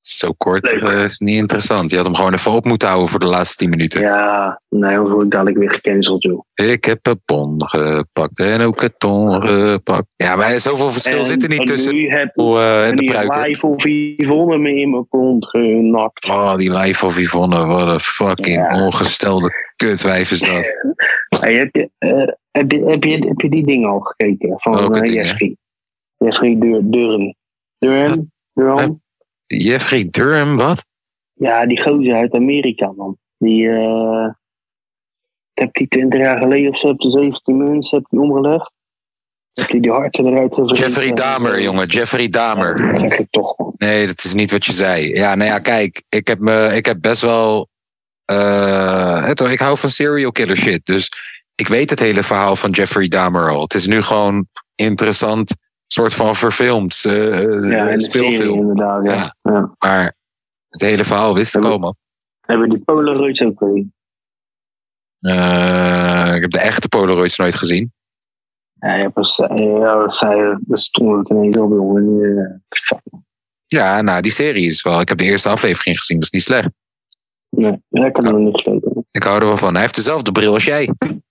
Speaker 1: zo kort
Speaker 2: Leuk.
Speaker 1: eh, is niet interessant. Je had hem gewoon even op moeten houden voor de laatste 10 minuten.
Speaker 2: Ja, nee, dan word ik dadelijk weer gecanceld, joh.
Speaker 1: Ik heb een bon gepakt en ook een ton gepakt. Ja, maar zoveel verschil
Speaker 2: En-
Speaker 1: zit er niet
Speaker 2: en
Speaker 1: tussen
Speaker 2: Nu heb
Speaker 1: oh, eh, en de
Speaker 2: ik
Speaker 1: pruiken.
Speaker 2: live of Yvonne me in mijn kont genakt.
Speaker 1: Oh, die live of Yvonne, wat een fucking
Speaker 2: Ja.
Speaker 1: ongestelde kutwijf is
Speaker 2: [laughs]
Speaker 1: dat.
Speaker 2: Hey, heb, je, eh, heb, je, heb, je, heb je die dingen al gekeken? Van
Speaker 1: Welke
Speaker 2: eh,
Speaker 1: dingen?
Speaker 2: Jeffrey. Jeffrey Dur Durren. Durren? Durren?
Speaker 1: Jeffrey Durham, wat?
Speaker 2: Ja, die gozer uit Amerika, man. Die, eh, ik heb die 20 jaar geleden of zo, heb die 17 mensen heb die omgelegd. Heb die die harten eruit gevreten.
Speaker 1: Jeffrey Dahmer, jongen. Jeffrey Dahmer.
Speaker 2: Dat zeg ik toch, man.
Speaker 1: Nee, dat is niet wat je zei. Ja, nou ja, kijk, ik heb, me, ik heb best wel. eh, het- ik hou van serial killer shit. Dus ik weet het hele verhaal van Jeffrey Dahmer al. Het is nu gewoon interessant, soort van verfilmd. eh, eh,
Speaker 2: Ja, in de serie
Speaker 1: speelfilm.
Speaker 2: inderdaad, ja.
Speaker 1: Ja.
Speaker 2: ja.
Speaker 1: Maar het hele verhaal wist ik
Speaker 2: Ja.
Speaker 1: al, man.
Speaker 2: Hebben die Polaroids ook gezien?
Speaker 1: Eh, ik heb de echte Polaroids nooit gezien.
Speaker 2: Ja, ja, pas, eh, ja, dat zei, dat stond het ineens op, jongen. Eh, fuck.
Speaker 1: Ja, nou, die serie is wel. Ik heb de eerste aflevering gezien, dat is niet slecht.
Speaker 2: eh, Nee, ja, ik heb er nog niet gekeken.
Speaker 1: Ik hou er wel van. Hij heeft dezelfde bril als jij. [laughs]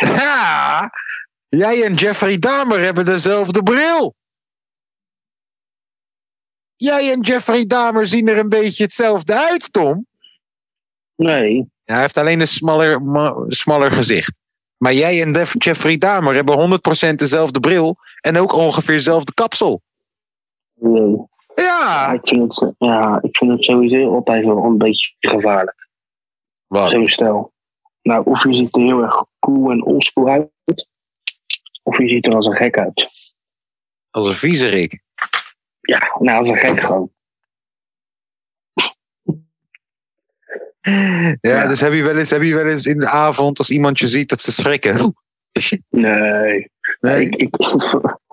Speaker 1: Ja, jij en Jeffrey Dahmer hebben dezelfde bril. Jij en Jeffrey Dahmer zien er een beetje hetzelfde uit, Tom.
Speaker 2: Nee,
Speaker 1: Ja, hij heeft alleen een smaller, ma- smaller gezicht. Maar jij en Def- Jeffrey Dahmer hebben 100% dezelfde bril en ook ongeveer dezelfde kapsel.
Speaker 2: nee.
Speaker 1: Ja.
Speaker 2: Ik, vind het, ja, ik vind het sowieso altijd wel een beetje gevaarlijk.
Speaker 1: Wat?
Speaker 2: Zo'n stijl. Nou, of je ziet er heel erg cool en oldschool uit. Of je ziet er als een gek uit.
Speaker 1: Als een viezerik.
Speaker 2: Ja, nou, als een gek gewoon.
Speaker 1: Ja,
Speaker 2: Ja.
Speaker 1: dus heb je, wel eens, heb je wel eens in de avond, als iemand je ziet, dat ze schrikken? Oeh, shit.
Speaker 2: Nee.
Speaker 1: Nee?
Speaker 2: Ik, [laughs] ik,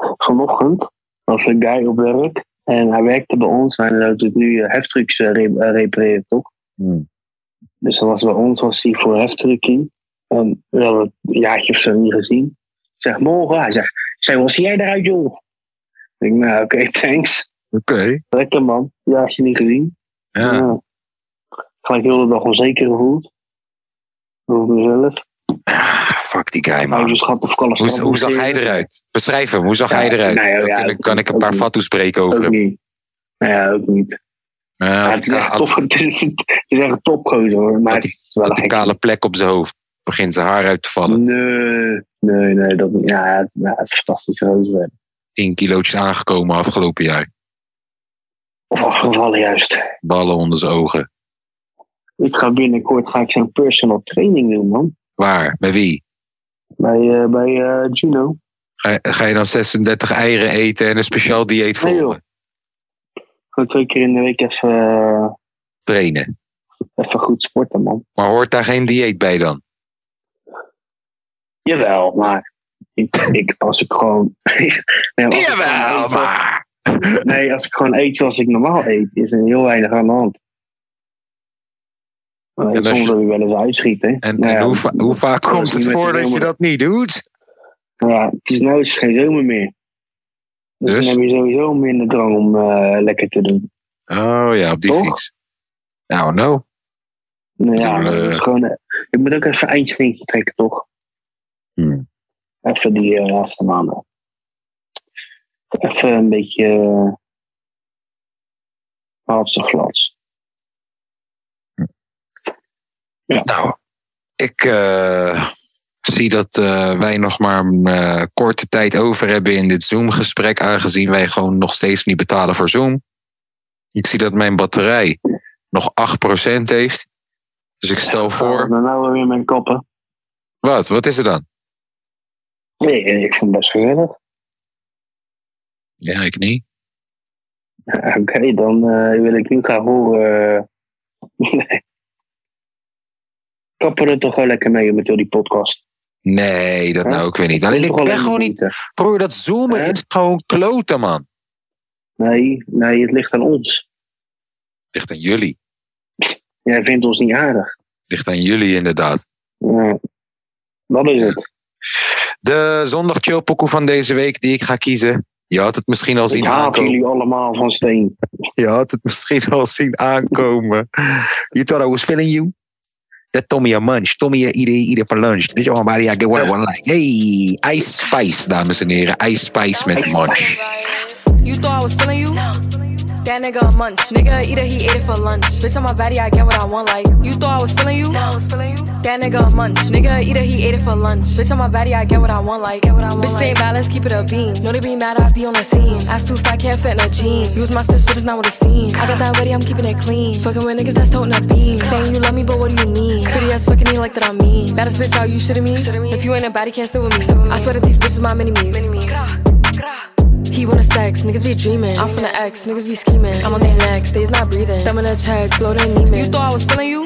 Speaker 2: vanochtend was een guy op werk. En hij werkte bij ons. Hij doet nu eh, heftrucks eh, re- eh, repareren, toch?
Speaker 1: Hmm.
Speaker 2: Dus hij was bij ons was hij voor heftrukking. En we hadden het een jaartje of zo niet gezien. Ik zeg, morgen. Hij zegt, "Zo, wat zie jij eruit, joh? Ik denk, nou, oké, [laughs] thanks.
Speaker 1: Oké.
Speaker 2: Lekker, man. Jaartje niet gezien.
Speaker 1: Ja.
Speaker 2: Ja. Gelijk heel de dag onzeker gevoeld. Over mezelf.
Speaker 1: Ah, fuck die guy, man.
Speaker 2: Ouderschap of kan
Speaker 1: Hoe, hoe zag hij eruit? Beschrijf hem, hoe zag
Speaker 2: Ja,
Speaker 1: hij eruit?
Speaker 2: nou ja,
Speaker 1: Dan
Speaker 2: ja,
Speaker 1: kan, ik, kan ik een
Speaker 2: ook
Speaker 1: paar
Speaker 2: niet.
Speaker 1: fatsoes spreken over
Speaker 2: Ook
Speaker 1: hem.
Speaker 2: niet. Nou ja, ook niet.
Speaker 1: Ja,
Speaker 2: Ja,
Speaker 1: had
Speaker 2: het, is
Speaker 1: een
Speaker 2: echt
Speaker 1: ka-
Speaker 2: top, [laughs] het, is, het is echt een topgozer hoor. Maar
Speaker 1: Had
Speaker 2: het
Speaker 1: die-
Speaker 2: is wel
Speaker 1: had een
Speaker 2: gek.
Speaker 1: kale plek op zijn hoofd. Begint zijn haar uit te
Speaker 2: Mm.
Speaker 1: vallen.
Speaker 2: Nee, nee, nee. Dat, niet. ja, het, ja, het is een fantastische gozer.
Speaker 1: 10 kilootjes aangekomen afgelopen jaar.
Speaker 2: Of afgevallen juist.
Speaker 1: Ballen onder zijn ogen.
Speaker 2: Ik ga binnenkort ga ik zo'n personal training doen man.
Speaker 1: Waar? Bij wie?
Speaker 2: Bij, eh, bij eh, Gino.
Speaker 1: Ga, ga je dan 36 eieren eten en een speciaal dieet
Speaker 2: Nee, joh.
Speaker 1: volgen?
Speaker 2: Gewoon twee keer in de week even, eh,
Speaker 1: Trainen.
Speaker 2: even goed sporten man.
Speaker 1: Maar hoort daar geen dieet bij dan?
Speaker 2: Jawel, maar ik, ik, als ik gewoon. [laughs] nee, als ik gewoon eet zoals-
Speaker 1: maar... [laughs]
Speaker 2: nee, als ik gewoon eet zoals ik normaal eet, is er heel weinig aan de hand. Maar
Speaker 1: En
Speaker 2: ik
Speaker 1: als
Speaker 2: soms
Speaker 1: je-
Speaker 2: wil je wel eens uitschieten.
Speaker 1: En,
Speaker 2: Nou
Speaker 1: en
Speaker 2: ja,
Speaker 1: hoe, va- hoe vaak
Speaker 2: dat
Speaker 1: komt
Speaker 2: is
Speaker 1: het
Speaker 2: niet met
Speaker 1: voor
Speaker 2: een
Speaker 1: dat je
Speaker 2: helemaal-
Speaker 1: dat niet doet?
Speaker 2: Ja, het is nou is het geen zomer meer. Dus,
Speaker 1: Dus?
Speaker 2: dan heb je sowieso minder drang om eh, lekker te doen.
Speaker 1: Oh ja, op die
Speaker 2: Toch?
Speaker 1: fiets. Nou, no.
Speaker 2: Nou
Speaker 1: Ik
Speaker 2: ja,
Speaker 1: bedoel, eh,
Speaker 2: gewoon, eh, je moet ook even een eindje trekken, toch?
Speaker 1: Hmm.
Speaker 2: Even die eh, laatste maanden. Even een beetje. eh, haal op zijn glans. Ja.
Speaker 1: Nou, ik eh, zie dat eh, wij nog maar een eh, korte tijd over hebben in dit Zoom-gesprek, aangezien wij gewoon nog steeds niet betalen voor Zoom. Ik zie dat mijn batterij nog 8% heeft. Dus ik stel voor.
Speaker 2: Dan nou weer mijn koppen.
Speaker 1: Wat? Wat is er dan?
Speaker 2: Nee, ik vond het best gezellig.
Speaker 1: Ja, ik niet.
Speaker 2: Oké, dan eh, wil ik nu gaan horen. eh, [laughs] Kappen er toch wel lekker mee met jullie podcast.
Speaker 1: Nee, dat
Speaker 2: Hè?
Speaker 1: nou ook weer niet. Alleen
Speaker 2: Toch
Speaker 1: ik
Speaker 2: wel
Speaker 1: ben
Speaker 2: lekker
Speaker 1: gewoon niet.
Speaker 2: genieten.
Speaker 1: Broer, dat zoomen
Speaker 2: Hè?
Speaker 1: is gewoon kloten, man.
Speaker 2: Nee, nee, het ligt aan ons.
Speaker 1: Ligt aan jullie.
Speaker 2: Jij vindt ons niet aardig.
Speaker 1: Ligt aan jullie inderdaad.
Speaker 2: Ja. Dat is het.
Speaker 1: De zondag chillpokoe van deze week die ik ga kiezen. Je had het misschien al
Speaker 2: Ik
Speaker 1: zien
Speaker 2: haat
Speaker 1: aankomen.
Speaker 2: jullie allemaal van steen.
Speaker 1: Je had het misschien al zien aankomen. You thought I was feeling you? That Tommy a munch. Tommy a ieder ieder per lunch. Dit is allemaal I get what I want like. Hey, Ice Spice, dames en heren. Ice Spice met munch.
Speaker 3: You thought I was feeling you? That nigga a munch. Nigga either he ate it for lunch. Bitch on my body, I get what I want. Like you thought I was feeling you? That nigga a munch. Nigga either he ate it for lunch. Bitch on my body, I get what I want. Like bitch say bad, let's keep it a beam. No they be mad, I be on the scene. Ass too fat, can't fit in a jean. Use my stitch, but it's not what it seems. I got that ready, I'm keeping it clean. Fucking with niggas that's toting a beam. Saying you love me, but what do you mean? Pretty ass fucking you like that I'm mean. Baddest bitch, out you shitting me? If you ain't a body, can't sit with me. I swear that these bitches my mini he wanna sex, niggas be dreaming. I'm from the X, niggas be scheming. I'm on their necks, they's not breathing. Thumb in a check, blow their Neiman. You thought I was feeling you?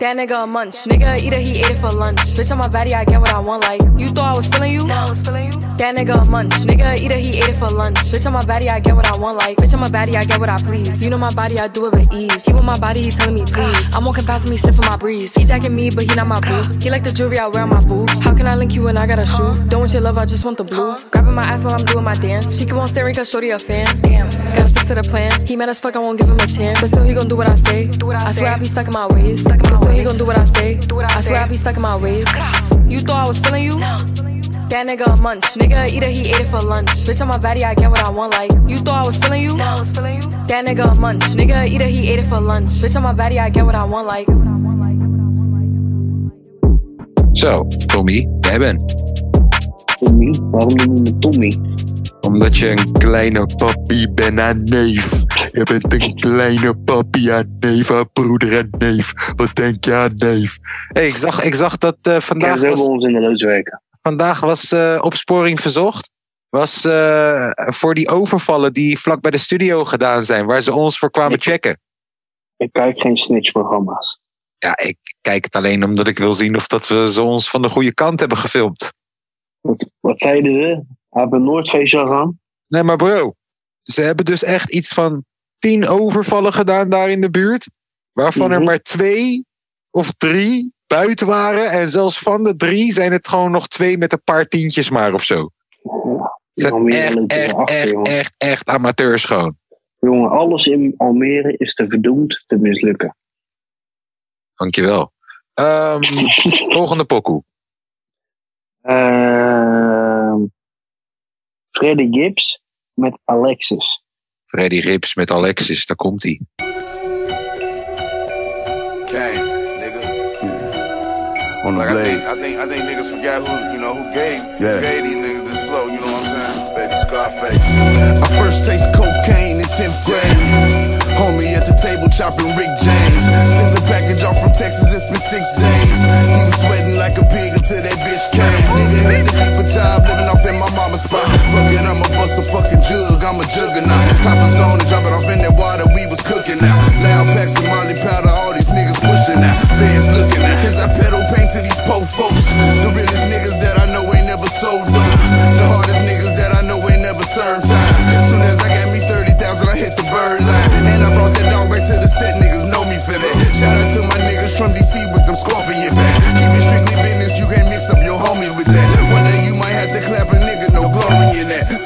Speaker 3: That nigga a munch. Nigga either he ate it for lunch. Bitch on my body, I get what I want. Like you thought I was feeling you? That nigga a munch. Nigga either he ate it for lunch. Bitch on my body, I get what I want. Like bitch on my body, I get what I please. You know my body, I do it with ease. He with my body, he telling me please. I'm walking past him, he sniffing my breeze. He jacking me, but he not my boo. He like the jewelry I wear on my boobs. How can I link you when I got a shoe? Don't want your love, I just want the blue. Grabbing my ass while I'm doing my dance. She keep on staring cause shorty a fan. Gotta stick to the plan. He mad as fuck, I won't give him a chance. But still he gon' do what I say. I swear I be stuck in my ways. But still he gon' do what I say. I swear I be stuck in my ways. You thought I was feeling you? That nigga a munch. Nigga either he ate it for lunch. Bitch on my body, I get what I want. Like you thought I was feeling you? That nigga a munch. Nigga either he ate it for lunch. Bitch on my body, I get what I want. Like.
Speaker 1: Zo, Tommy, jij bent.
Speaker 2: Tommy? Waarom noem je me Tommy?
Speaker 1: Omdat je een kleine papi bent aan neef. Je bent een kleine papi aan neef, aan broeder en neef. Wat denk je aan neef? hey, ik, zag, ik zag dat eh,
Speaker 2: Ja,
Speaker 1: vandaag
Speaker 2: zo
Speaker 1: was...
Speaker 2: hebben we ons in de loods werken.
Speaker 1: vandaag was eh, opsporing verzocht. Was eh, voor die overvallen die vlak bij de studio gedaan zijn, waar ze ons voor kwamen checken.
Speaker 2: Ik kijk geen snitchprogramma's.
Speaker 1: Ja, ik kijk het alleen omdat ik wil zien of dat we ze ons van de goede kant hebben gefilmd.
Speaker 2: Wat, wat zeiden ze? Hebben een Noordfeestje gegaan?
Speaker 1: Nee, maar bro, ze hebben dus echt iets van tien overvallen gedaan daar in de buurt, waarvan er
Speaker 2: Mhm.
Speaker 1: maar twee of drie buiten waren. En zelfs van de drie zijn het gewoon nog twee met een paar tientjes maar of zo. Ze
Speaker 2: Ja,
Speaker 1: zijn
Speaker 2: meer
Speaker 1: echt,
Speaker 2: dan
Speaker 1: echt,
Speaker 2: achter,
Speaker 1: echt,
Speaker 2: jongen.
Speaker 1: echt, echt amateurs gewoon.
Speaker 2: Jongen, alles in Almere is te verdoemd te
Speaker 1: [laughs]
Speaker 2: mislukken.
Speaker 1: Dankjewel.
Speaker 2: [laughs]
Speaker 1: Ehm volgende pokoe.
Speaker 2: Ehm Freddy Gibbs met Alexis.
Speaker 1: Freddy Rips met Alexis, daar komt hij.
Speaker 4: Gang, nigga.
Speaker 5: on the
Speaker 4: Like, I, think,
Speaker 5: blade.
Speaker 4: I think I think niggas forgot who you know who gave
Speaker 5: Yeah.
Speaker 4: who gave these niggas this flow. You know what I'm saying? Baby Scarface.
Speaker 5: I first tasted cocaine in 10th grade. Homie at the table chopping Rick James. Sent the package off from Texas, it's been six days. He was sweating like a pig until that bitch came. Nigga had to keep a job, living off in my mama's spot. Fuck it, I'ma bust a fucking jug, I'm a juggernaut. Pop a zone and drop it off in that water, we was cooking now. Loud packs of Molly powder, all these niggas pushing now. Fans looking now, as I pedal paint to these po folks. The realest niggas that I know ain't never sold dope. The hardest niggas that I know ain't never served time. Soon as I got me 30,000, I hit the bird line. And I brought that dog back to the set, niggas know me for that. Shout out to my niggas from DC with them scorpion bats. Keep it strictly business, you can't mix up your homies with that. One day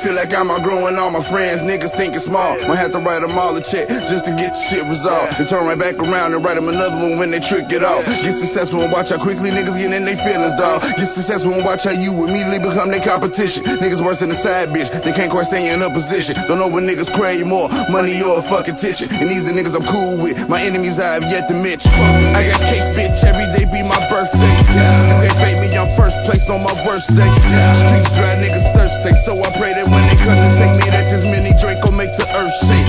Speaker 5: Feel like I'm outgrowing all my friends. Niggas thinking small. Might have to write them all a check just to get the shit resolved. They turn right back around and write them another one when they trick it off. Get successful and watch how quickly niggas get in their feelings, dog. Get successful and watch how you immediately become their competition. Niggas worse than a side bitch. They can't quite stay in her position. Don't know what niggas crave more. Money or a fucking tissue. And these are niggas I'm cool with. My enemies I have yet to mention. Fuck, I got cake, bitch. Every day be my birthday. You can't fake me. I'm first place on my worst day. Streets dry, niggas thirsty. So I pray that when they come to take me, that this mini Draco make the earth shake.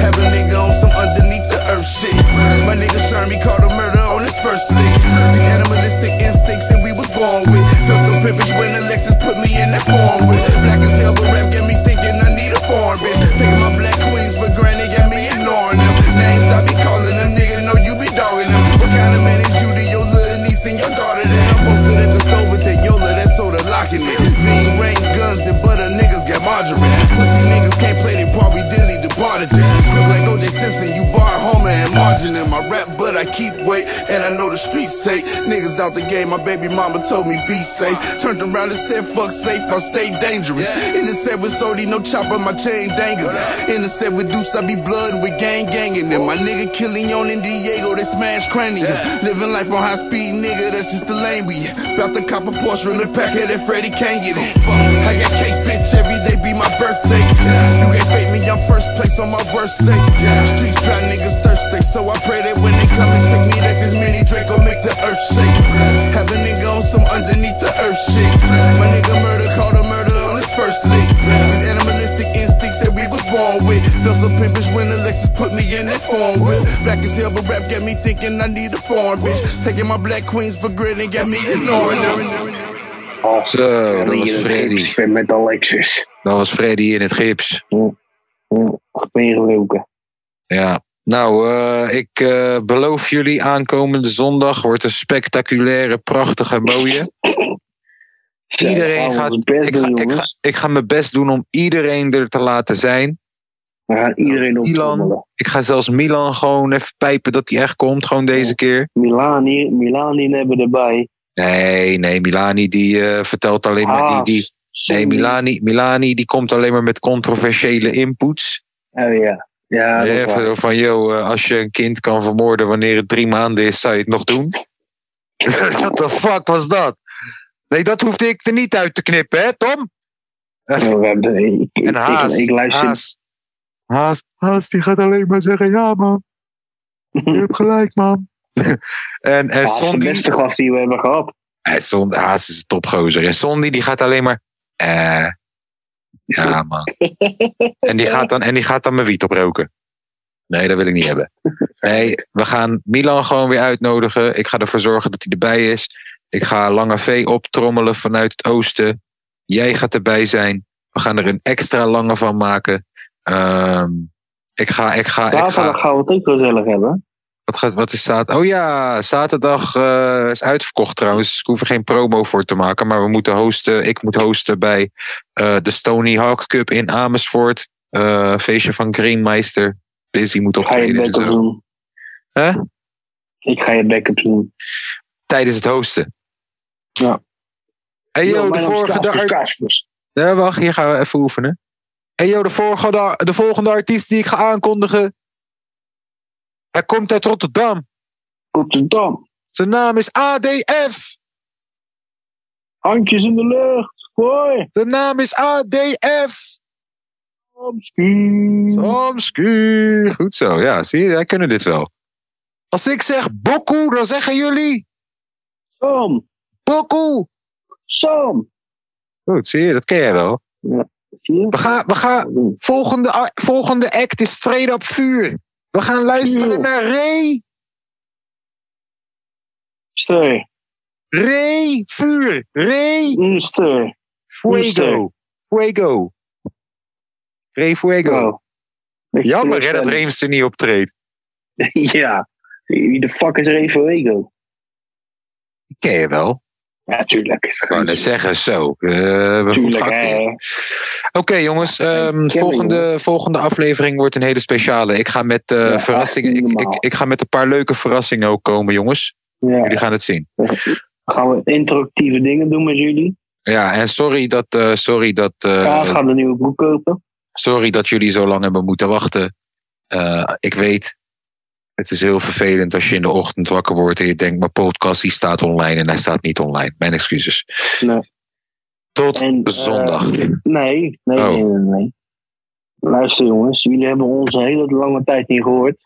Speaker 5: Have a nigga on some underneath the earth shit. My nigga Shermie called a murder on his first day. These animalistic instincts that we was born with. Feel so pimpish when Alexis put me in that form with. Black as hell, but rap got me thinking I need a foreign bitch. Taking my black queens for granted, got me ignoring them. Names I be calling them, nigga, know you be dogging them. What kind of man is you to your little niece and your daughter? Then I'm posted at the store with that Yola, that soda locking it. Mean range guns and butter, niggas got margarine. Pussy niggas can't play their part, we dilly departed them. Look like OJ Simpson, you bar Homer and margin in my rap, but I keep weight, and I know the streets take niggas out the game. My baby mama told me be safe. Turned around and said fuck safe, I stay dangerous. In the set with Sody, no chopper, my chain dangling. In the set with Deuce, I be bloodin' with gang gangin' them. My nigga Killion and Diego, they smash craniums. Living life on high speed, nigga, that's just the lane we in. Bout to cop a Porsche in the pack of that Freddie Canyon. I got cake, bitch, every day be my birthday. You can't fake me, I'm first place on my worst day. Streets dry, niggas thirsty, so I pray that when they come and take me, that this mini Draco make the earth shake. Have a nigga on some underneath the earth shit. My nigga murder called a murder on his first lick. These animalistic instincts that we was born with. Felt so pimpish when Alexis put me in that form with. Black as hell, but rap got me thinking I need a foreign bitch. Taking my black queens for granted, got me ignoring them.
Speaker 2: Oh,
Speaker 1: Zo,
Speaker 2: en
Speaker 1: dat was
Speaker 2: hier een
Speaker 1: Freddy.
Speaker 2: gips Met Alexis.
Speaker 1: Dat was Freddy in het gips.
Speaker 2: Ja, Goed meegeroken.
Speaker 1: Ja. Nou, eh, ik eh, beloof jullie aankomende zondag wordt een spectaculaire, prachtige, mooie.
Speaker 2: Ja,
Speaker 1: Iedereen
Speaker 2: we gaan
Speaker 1: gaat-
Speaker 2: ons best
Speaker 1: Ik
Speaker 2: doen,
Speaker 1: ga, ik,
Speaker 2: jongens.
Speaker 1: ga, ik ga mijn best doen om iedereen er te laten zijn.
Speaker 2: We gaan iedereen op
Speaker 1: Milan. Ik ga zelfs Milan gewoon even pijpen dat hij echt komt, gewoon deze keer.
Speaker 2: Milan hier, Milan hier hebben we erbij.
Speaker 1: Nee, nee, Milani die eh, vertelt alleen maar... Die,
Speaker 2: Ah,
Speaker 1: die, nee, Milani, Milani die komt alleen maar met controversiële inputs.
Speaker 2: Oh ja. Ja, dat
Speaker 1: Even
Speaker 2: is waar.
Speaker 1: zo van, joh, eh, als je een kind kan vermoorden wanneer het drie maanden is, zou je het nog doen? [laughs] What the fuck was dat? Nee, dat hoefde ik er niet uit te knippen, hè, Tom?
Speaker 2: Ja, we hebben- ik, ik,
Speaker 1: En Haas,
Speaker 2: ik, ik luister.
Speaker 1: Haas, Haas, Haas, die gaat alleen maar zeggen, ja,
Speaker 2: [laughs]
Speaker 1: man. Je hebt gelijk, man. [laughs] en en
Speaker 2: Haas is de
Speaker 1: Sondi,
Speaker 2: beste gast die we hebben gehad.
Speaker 1: eh, Son- Haas is een topgozer. En Sondi, die gaat alleen maar, eh, ja, man. en, die gaat dan, en die gaat dan mijn wiet oproken. Nee, dat wil ik niet hebben. Nee, we gaan Milan gewoon weer uitnodigen. Ik ga ervoor zorgen dat hij erbij is. Ik ga Lange V optrommelen vanuit het oosten. Jij gaat erbij zijn. We gaan er een extra lange van maken. Ehm, ik ga, ik ga, ik
Speaker 2: Zaterdag
Speaker 1: ga.
Speaker 2: gaan we het ook gezellig hebben.
Speaker 1: Wat, gaat, wat is zaterdag? Oh ja, zaterdag eh, is uitverkocht trouwens. Dus ik hoef er geen promo voor te maken. Maar we moeten hosten. Ik moet hosten bij eh, de Stony Hawk Cup in Amersfoort. Eh, feestje van Greenmeister. Busy moet
Speaker 2: Ik ga je
Speaker 1: optreden en
Speaker 2: backup
Speaker 1: zo.
Speaker 2: doen.
Speaker 1: Hè?
Speaker 2: Ik ga je backup doen.
Speaker 1: Tijdens het hosten.
Speaker 2: Ja.
Speaker 1: Hey
Speaker 2: Yo,
Speaker 1: yo, de
Speaker 2: mijn naam is Dus
Speaker 1: vorige...
Speaker 2: Kaspers,
Speaker 1: de ar-
Speaker 2: Kaspers.
Speaker 1: Ja, wacht, hier gaan we even oefenen. Hey yo, de volgende, de volgende artiest die ik ga aankondigen. Hij komt uit Rotterdam.
Speaker 2: Rotterdam.
Speaker 1: Zijn naam is ADF.
Speaker 2: Handjes in de lucht. Hoi.
Speaker 1: Zijn naam is ADF.
Speaker 2: Omski.
Speaker 1: Samsky. Goed zo, ja, zie je, wij kunnen dit wel. Als ik zeg Boku, dan zeggen jullie
Speaker 2: Sam.
Speaker 1: Boku.
Speaker 2: Sam.
Speaker 1: Goed, zie je, dat ken jij wel.
Speaker 2: Zie je?
Speaker 1: We gaan, we gaan, volgende, a- volgende act is Straight Up Vuur. We gaan luisteren
Speaker 2: Vuur.
Speaker 1: naar Ray.
Speaker 2: Steur.
Speaker 1: Ray Vuur. Ray
Speaker 2: Mm, Steur.
Speaker 1: Fuego. Fuego. Ray Fuego.
Speaker 2: Wow. Beetje
Speaker 1: Jammer hè, dat
Speaker 2: teleurstelling.
Speaker 1: Reems er niet optreedt.
Speaker 2: eh, [laughs] Ja. Wie de fuck is Ray Fuego?
Speaker 1: Die Ken je wel?
Speaker 2: Ja, tuurlijk. Is
Speaker 1: Ik wou net zeggen, zo. eh, we goed
Speaker 2: Tuurlijk,
Speaker 1: gehakt,
Speaker 2: hè.
Speaker 1: hoor. Oké jongens, ehm,
Speaker 2: ken
Speaker 1: volgende, volgende aflevering wordt een hele speciale. Ik ga met eh,
Speaker 2: Ja,
Speaker 1: verrassingen, ik,
Speaker 2: normaal.
Speaker 1: ik, ik ga met een paar leuke verrassingen ook komen jongens.
Speaker 2: Ja.
Speaker 1: Jullie gaan het zien.
Speaker 2: [laughs] Gaan we interactieve dingen doen met jullie?
Speaker 1: Ja, en sorry dat, eh, sorry, dat, eh,
Speaker 2: Kaas gaat een nieuwe broek kopen.
Speaker 1: sorry dat jullie zo lang hebben moeten wachten. Eh, ik weet, het is heel vervelend als je in de ochtend wakker wordt en je denkt, mijn podcast die staat online en hij staat niet online. Mijn excuses.
Speaker 2: Nee.
Speaker 1: Tot
Speaker 2: En, eh,
Speaker 1: zondag.
Speaker 2: Nee, nee,
Speaker 1: Oh.
Speaker 2: nee, nee, nee. Luister jongens, jullie hebben ons een hele lange tijd niet gehoord.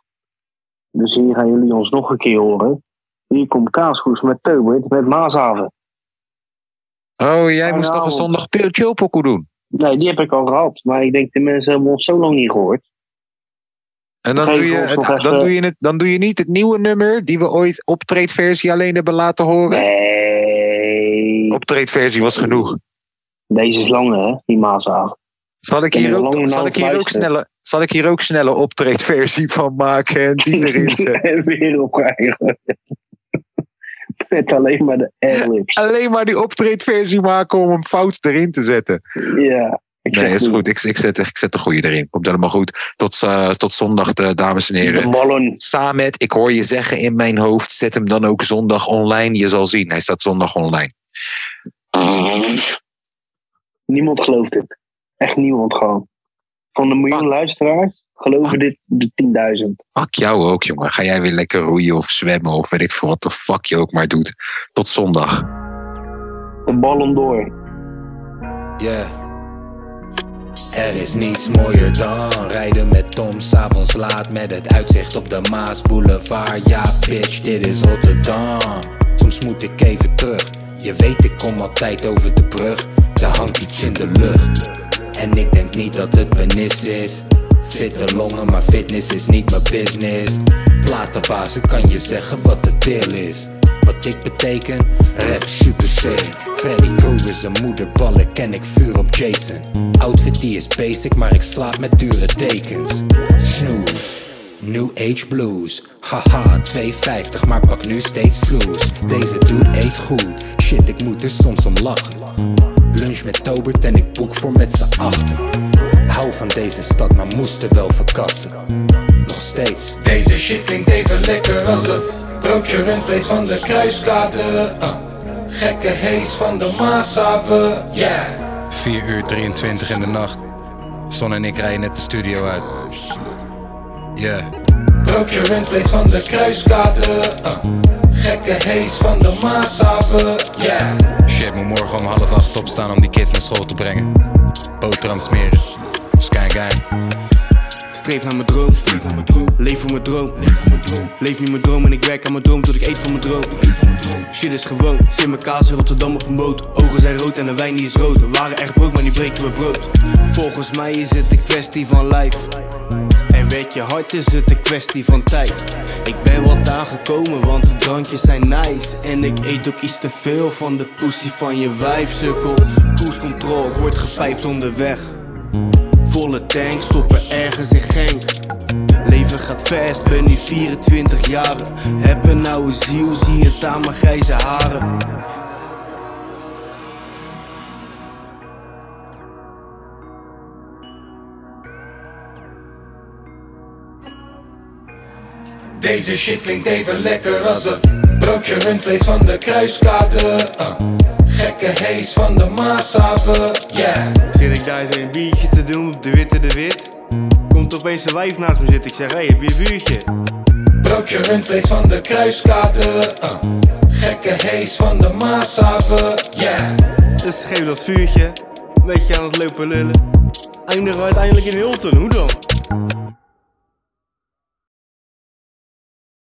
Speaker 2: Dus hier gaan jullie ons nog een keer horen. Hier komt Kaaskoes met Teubert met Maashaven.
Speaker 1: Oh, jij moest nog een
Speaker 2: avond.
Speaker 1: zondag pil- chillpokoe doen.
Speaker 2: Nee, die heb ik al gehad. Maar ik denk, de mensen hebben ons zo lang niet gehoord.
Speaker 1: En dan
Speaker 2: Geef
Speaker 1: doe, je
Speaker 2: ons
Speaker 1: het,
Speaker 2: nog
Speaker 1: dan,
Speaker 2: even-
Speaker 1: doe je het, dan doe je niet het nieuwe nummer die we ooit optreedversie alleen hebben laten horen.
Speaker 2: Nee.
Speaker 1: Optreedversie was genoeg.
Speaker 2: Deze is langer, hè, die Maashaven.
Speaker 1: Zal ik
Speaker 2: Ik ben
Speaker 1: hier
Speaker 2: hier lang
Speaker 1: ook,
Speaker 2: naar
Speaker 1: zal
Speaker 2: aan
Speaker 1: ik
Speaker 2: het
Speaker 1: hier ook
Speaker 2: luisteren.
Speaker 1: snelle, zal ik hier ook snelle optreedversie [laughs] van maken en
Speaker 2: [laughs]
Speaker 1: die erin zetten?
Speaker 2: en weer oprijden. met alleen maar de airlips.
Speaker 1: Alleen maar die optreedversie maken om hem fout erin te zetten.
Speaker 2: Ja. Ik
Speaker 1: Nee,
Speaker 2: zeg
Speaker 1: is
Speaker 2: niet.
Speaker 1: goed. Ik, ik, zet, ik zet de goede erin. Komt helemaal goed. Tot, eh, tot zondag, eh, dames en
Speaker 2: De
Speaker 1: heren.
Speaker 2: ballen.
Speaker 1: Samet, ik hoor je zeggen in mijn hoofd, zet hem dan ook zondag online. Je zal zien, hij staat zondag online.
Speaker 2: Niemand gelooft het. Echt niemand gewoon. Van de miljoen
Speaker 1: Ah.
Speaker 2: luisteraars geloven dit de 10.000.
Speaker 1: Fuck jou ook, jongen. Ga jij weer lekker roeien of zwemmen of weet ik veel wat de fuck je ook maar doet. Tot zondag.
Speaker 2: De ballon door.
Speaker 6: Yeah. Er is niets mooier dan rijden met Tom s'avonds laat met het uitzicht op de Maas Boulevard. Ja, bitch, dit is Rotterdam. Soms moet ik even terug. Je weet, ik kom altijd over de brug. Daar hangt iets in de lucht. En ik denk niet dat het benis is. Fitte longen, maar fitness is niet mijn business. Platenbazen kan je zeggen wat de deal is wat ik beteken? Rap super sick. Freddy Krueger zijn moederballen ken ik vuur op Jason. Outfit die is basic, maar ik slaap met dure dekens. Snooze. New Age Blues, haha 2,50 maar pak nu steeds vloes Deze dude eet goed, shit ik moet er soms om lachen Lunch met Tobert en ik boek voor met z'n achten Hou van deze stad maar moest er wel verkassen Nog steeds Deze shit klinkt even lekker als een broodje rundvlees van de kruiskade Ah, Gekke hees van de Maashaven, yeah
Speaker 7: 4 uur 23 in de nacht. Son en ik rijden net de studio uit. Yeah.
Speaker 6: Oh, Broodje rundvlees van de kruiskade ah. Gekke hees van de Maashaven, yeah
Speaker 7: Shit, moet morgen om half acht opstaan om die kids naar school te brengen. Boterham smeren. Sky guy.
Speaker 8: Streef naar mijn droom. Leef voor mijn droom. Leef nu mijn droom en ik werk aan mijn droom tot ik eet van mijn droom. Shit is gewoon. Zit mijn kaas in Rotterdam op een boot. Ogen zijn rood en de wijn die is rood. We waren echt brood, maar nu breken we brood. Volgens mij is het een kwestie van lijf. En weet je hart is het een kwestie van tijd. Ik ben wat aangekomen, want de drankjes zijn nice. En ik eet ook iets te veel van de poesie van je wijfsukkel. Cruise control, ik word gepijpt onderweg. Volle tank, stoppen ergens in Genk. Leven gaat fast, ben nu 24 jaar. Heb een oude ziel, zie het aan mijn grijze haren.
Speaker 6: Deze shit klinkt even lekker als een broodje rundvlees van de kruiskade ah. Gekke hees van de Maashaven, yeah
Speaker 8: Zit ik daar eens een biertje te doen op de witte de wit? Komt opeens een wijf naast me zitten, ik zeg: hey, heb je een buurtje?
Speaker 6: Broodje rundvlees van de kruiskade ah. Gekke hees van de Maashaven, yeah
Speaker 8: Dus geef dat vuurtje, een beetje aan het lopen lullen. Eindigen we uiteindelijk in Hilton, hoe dan?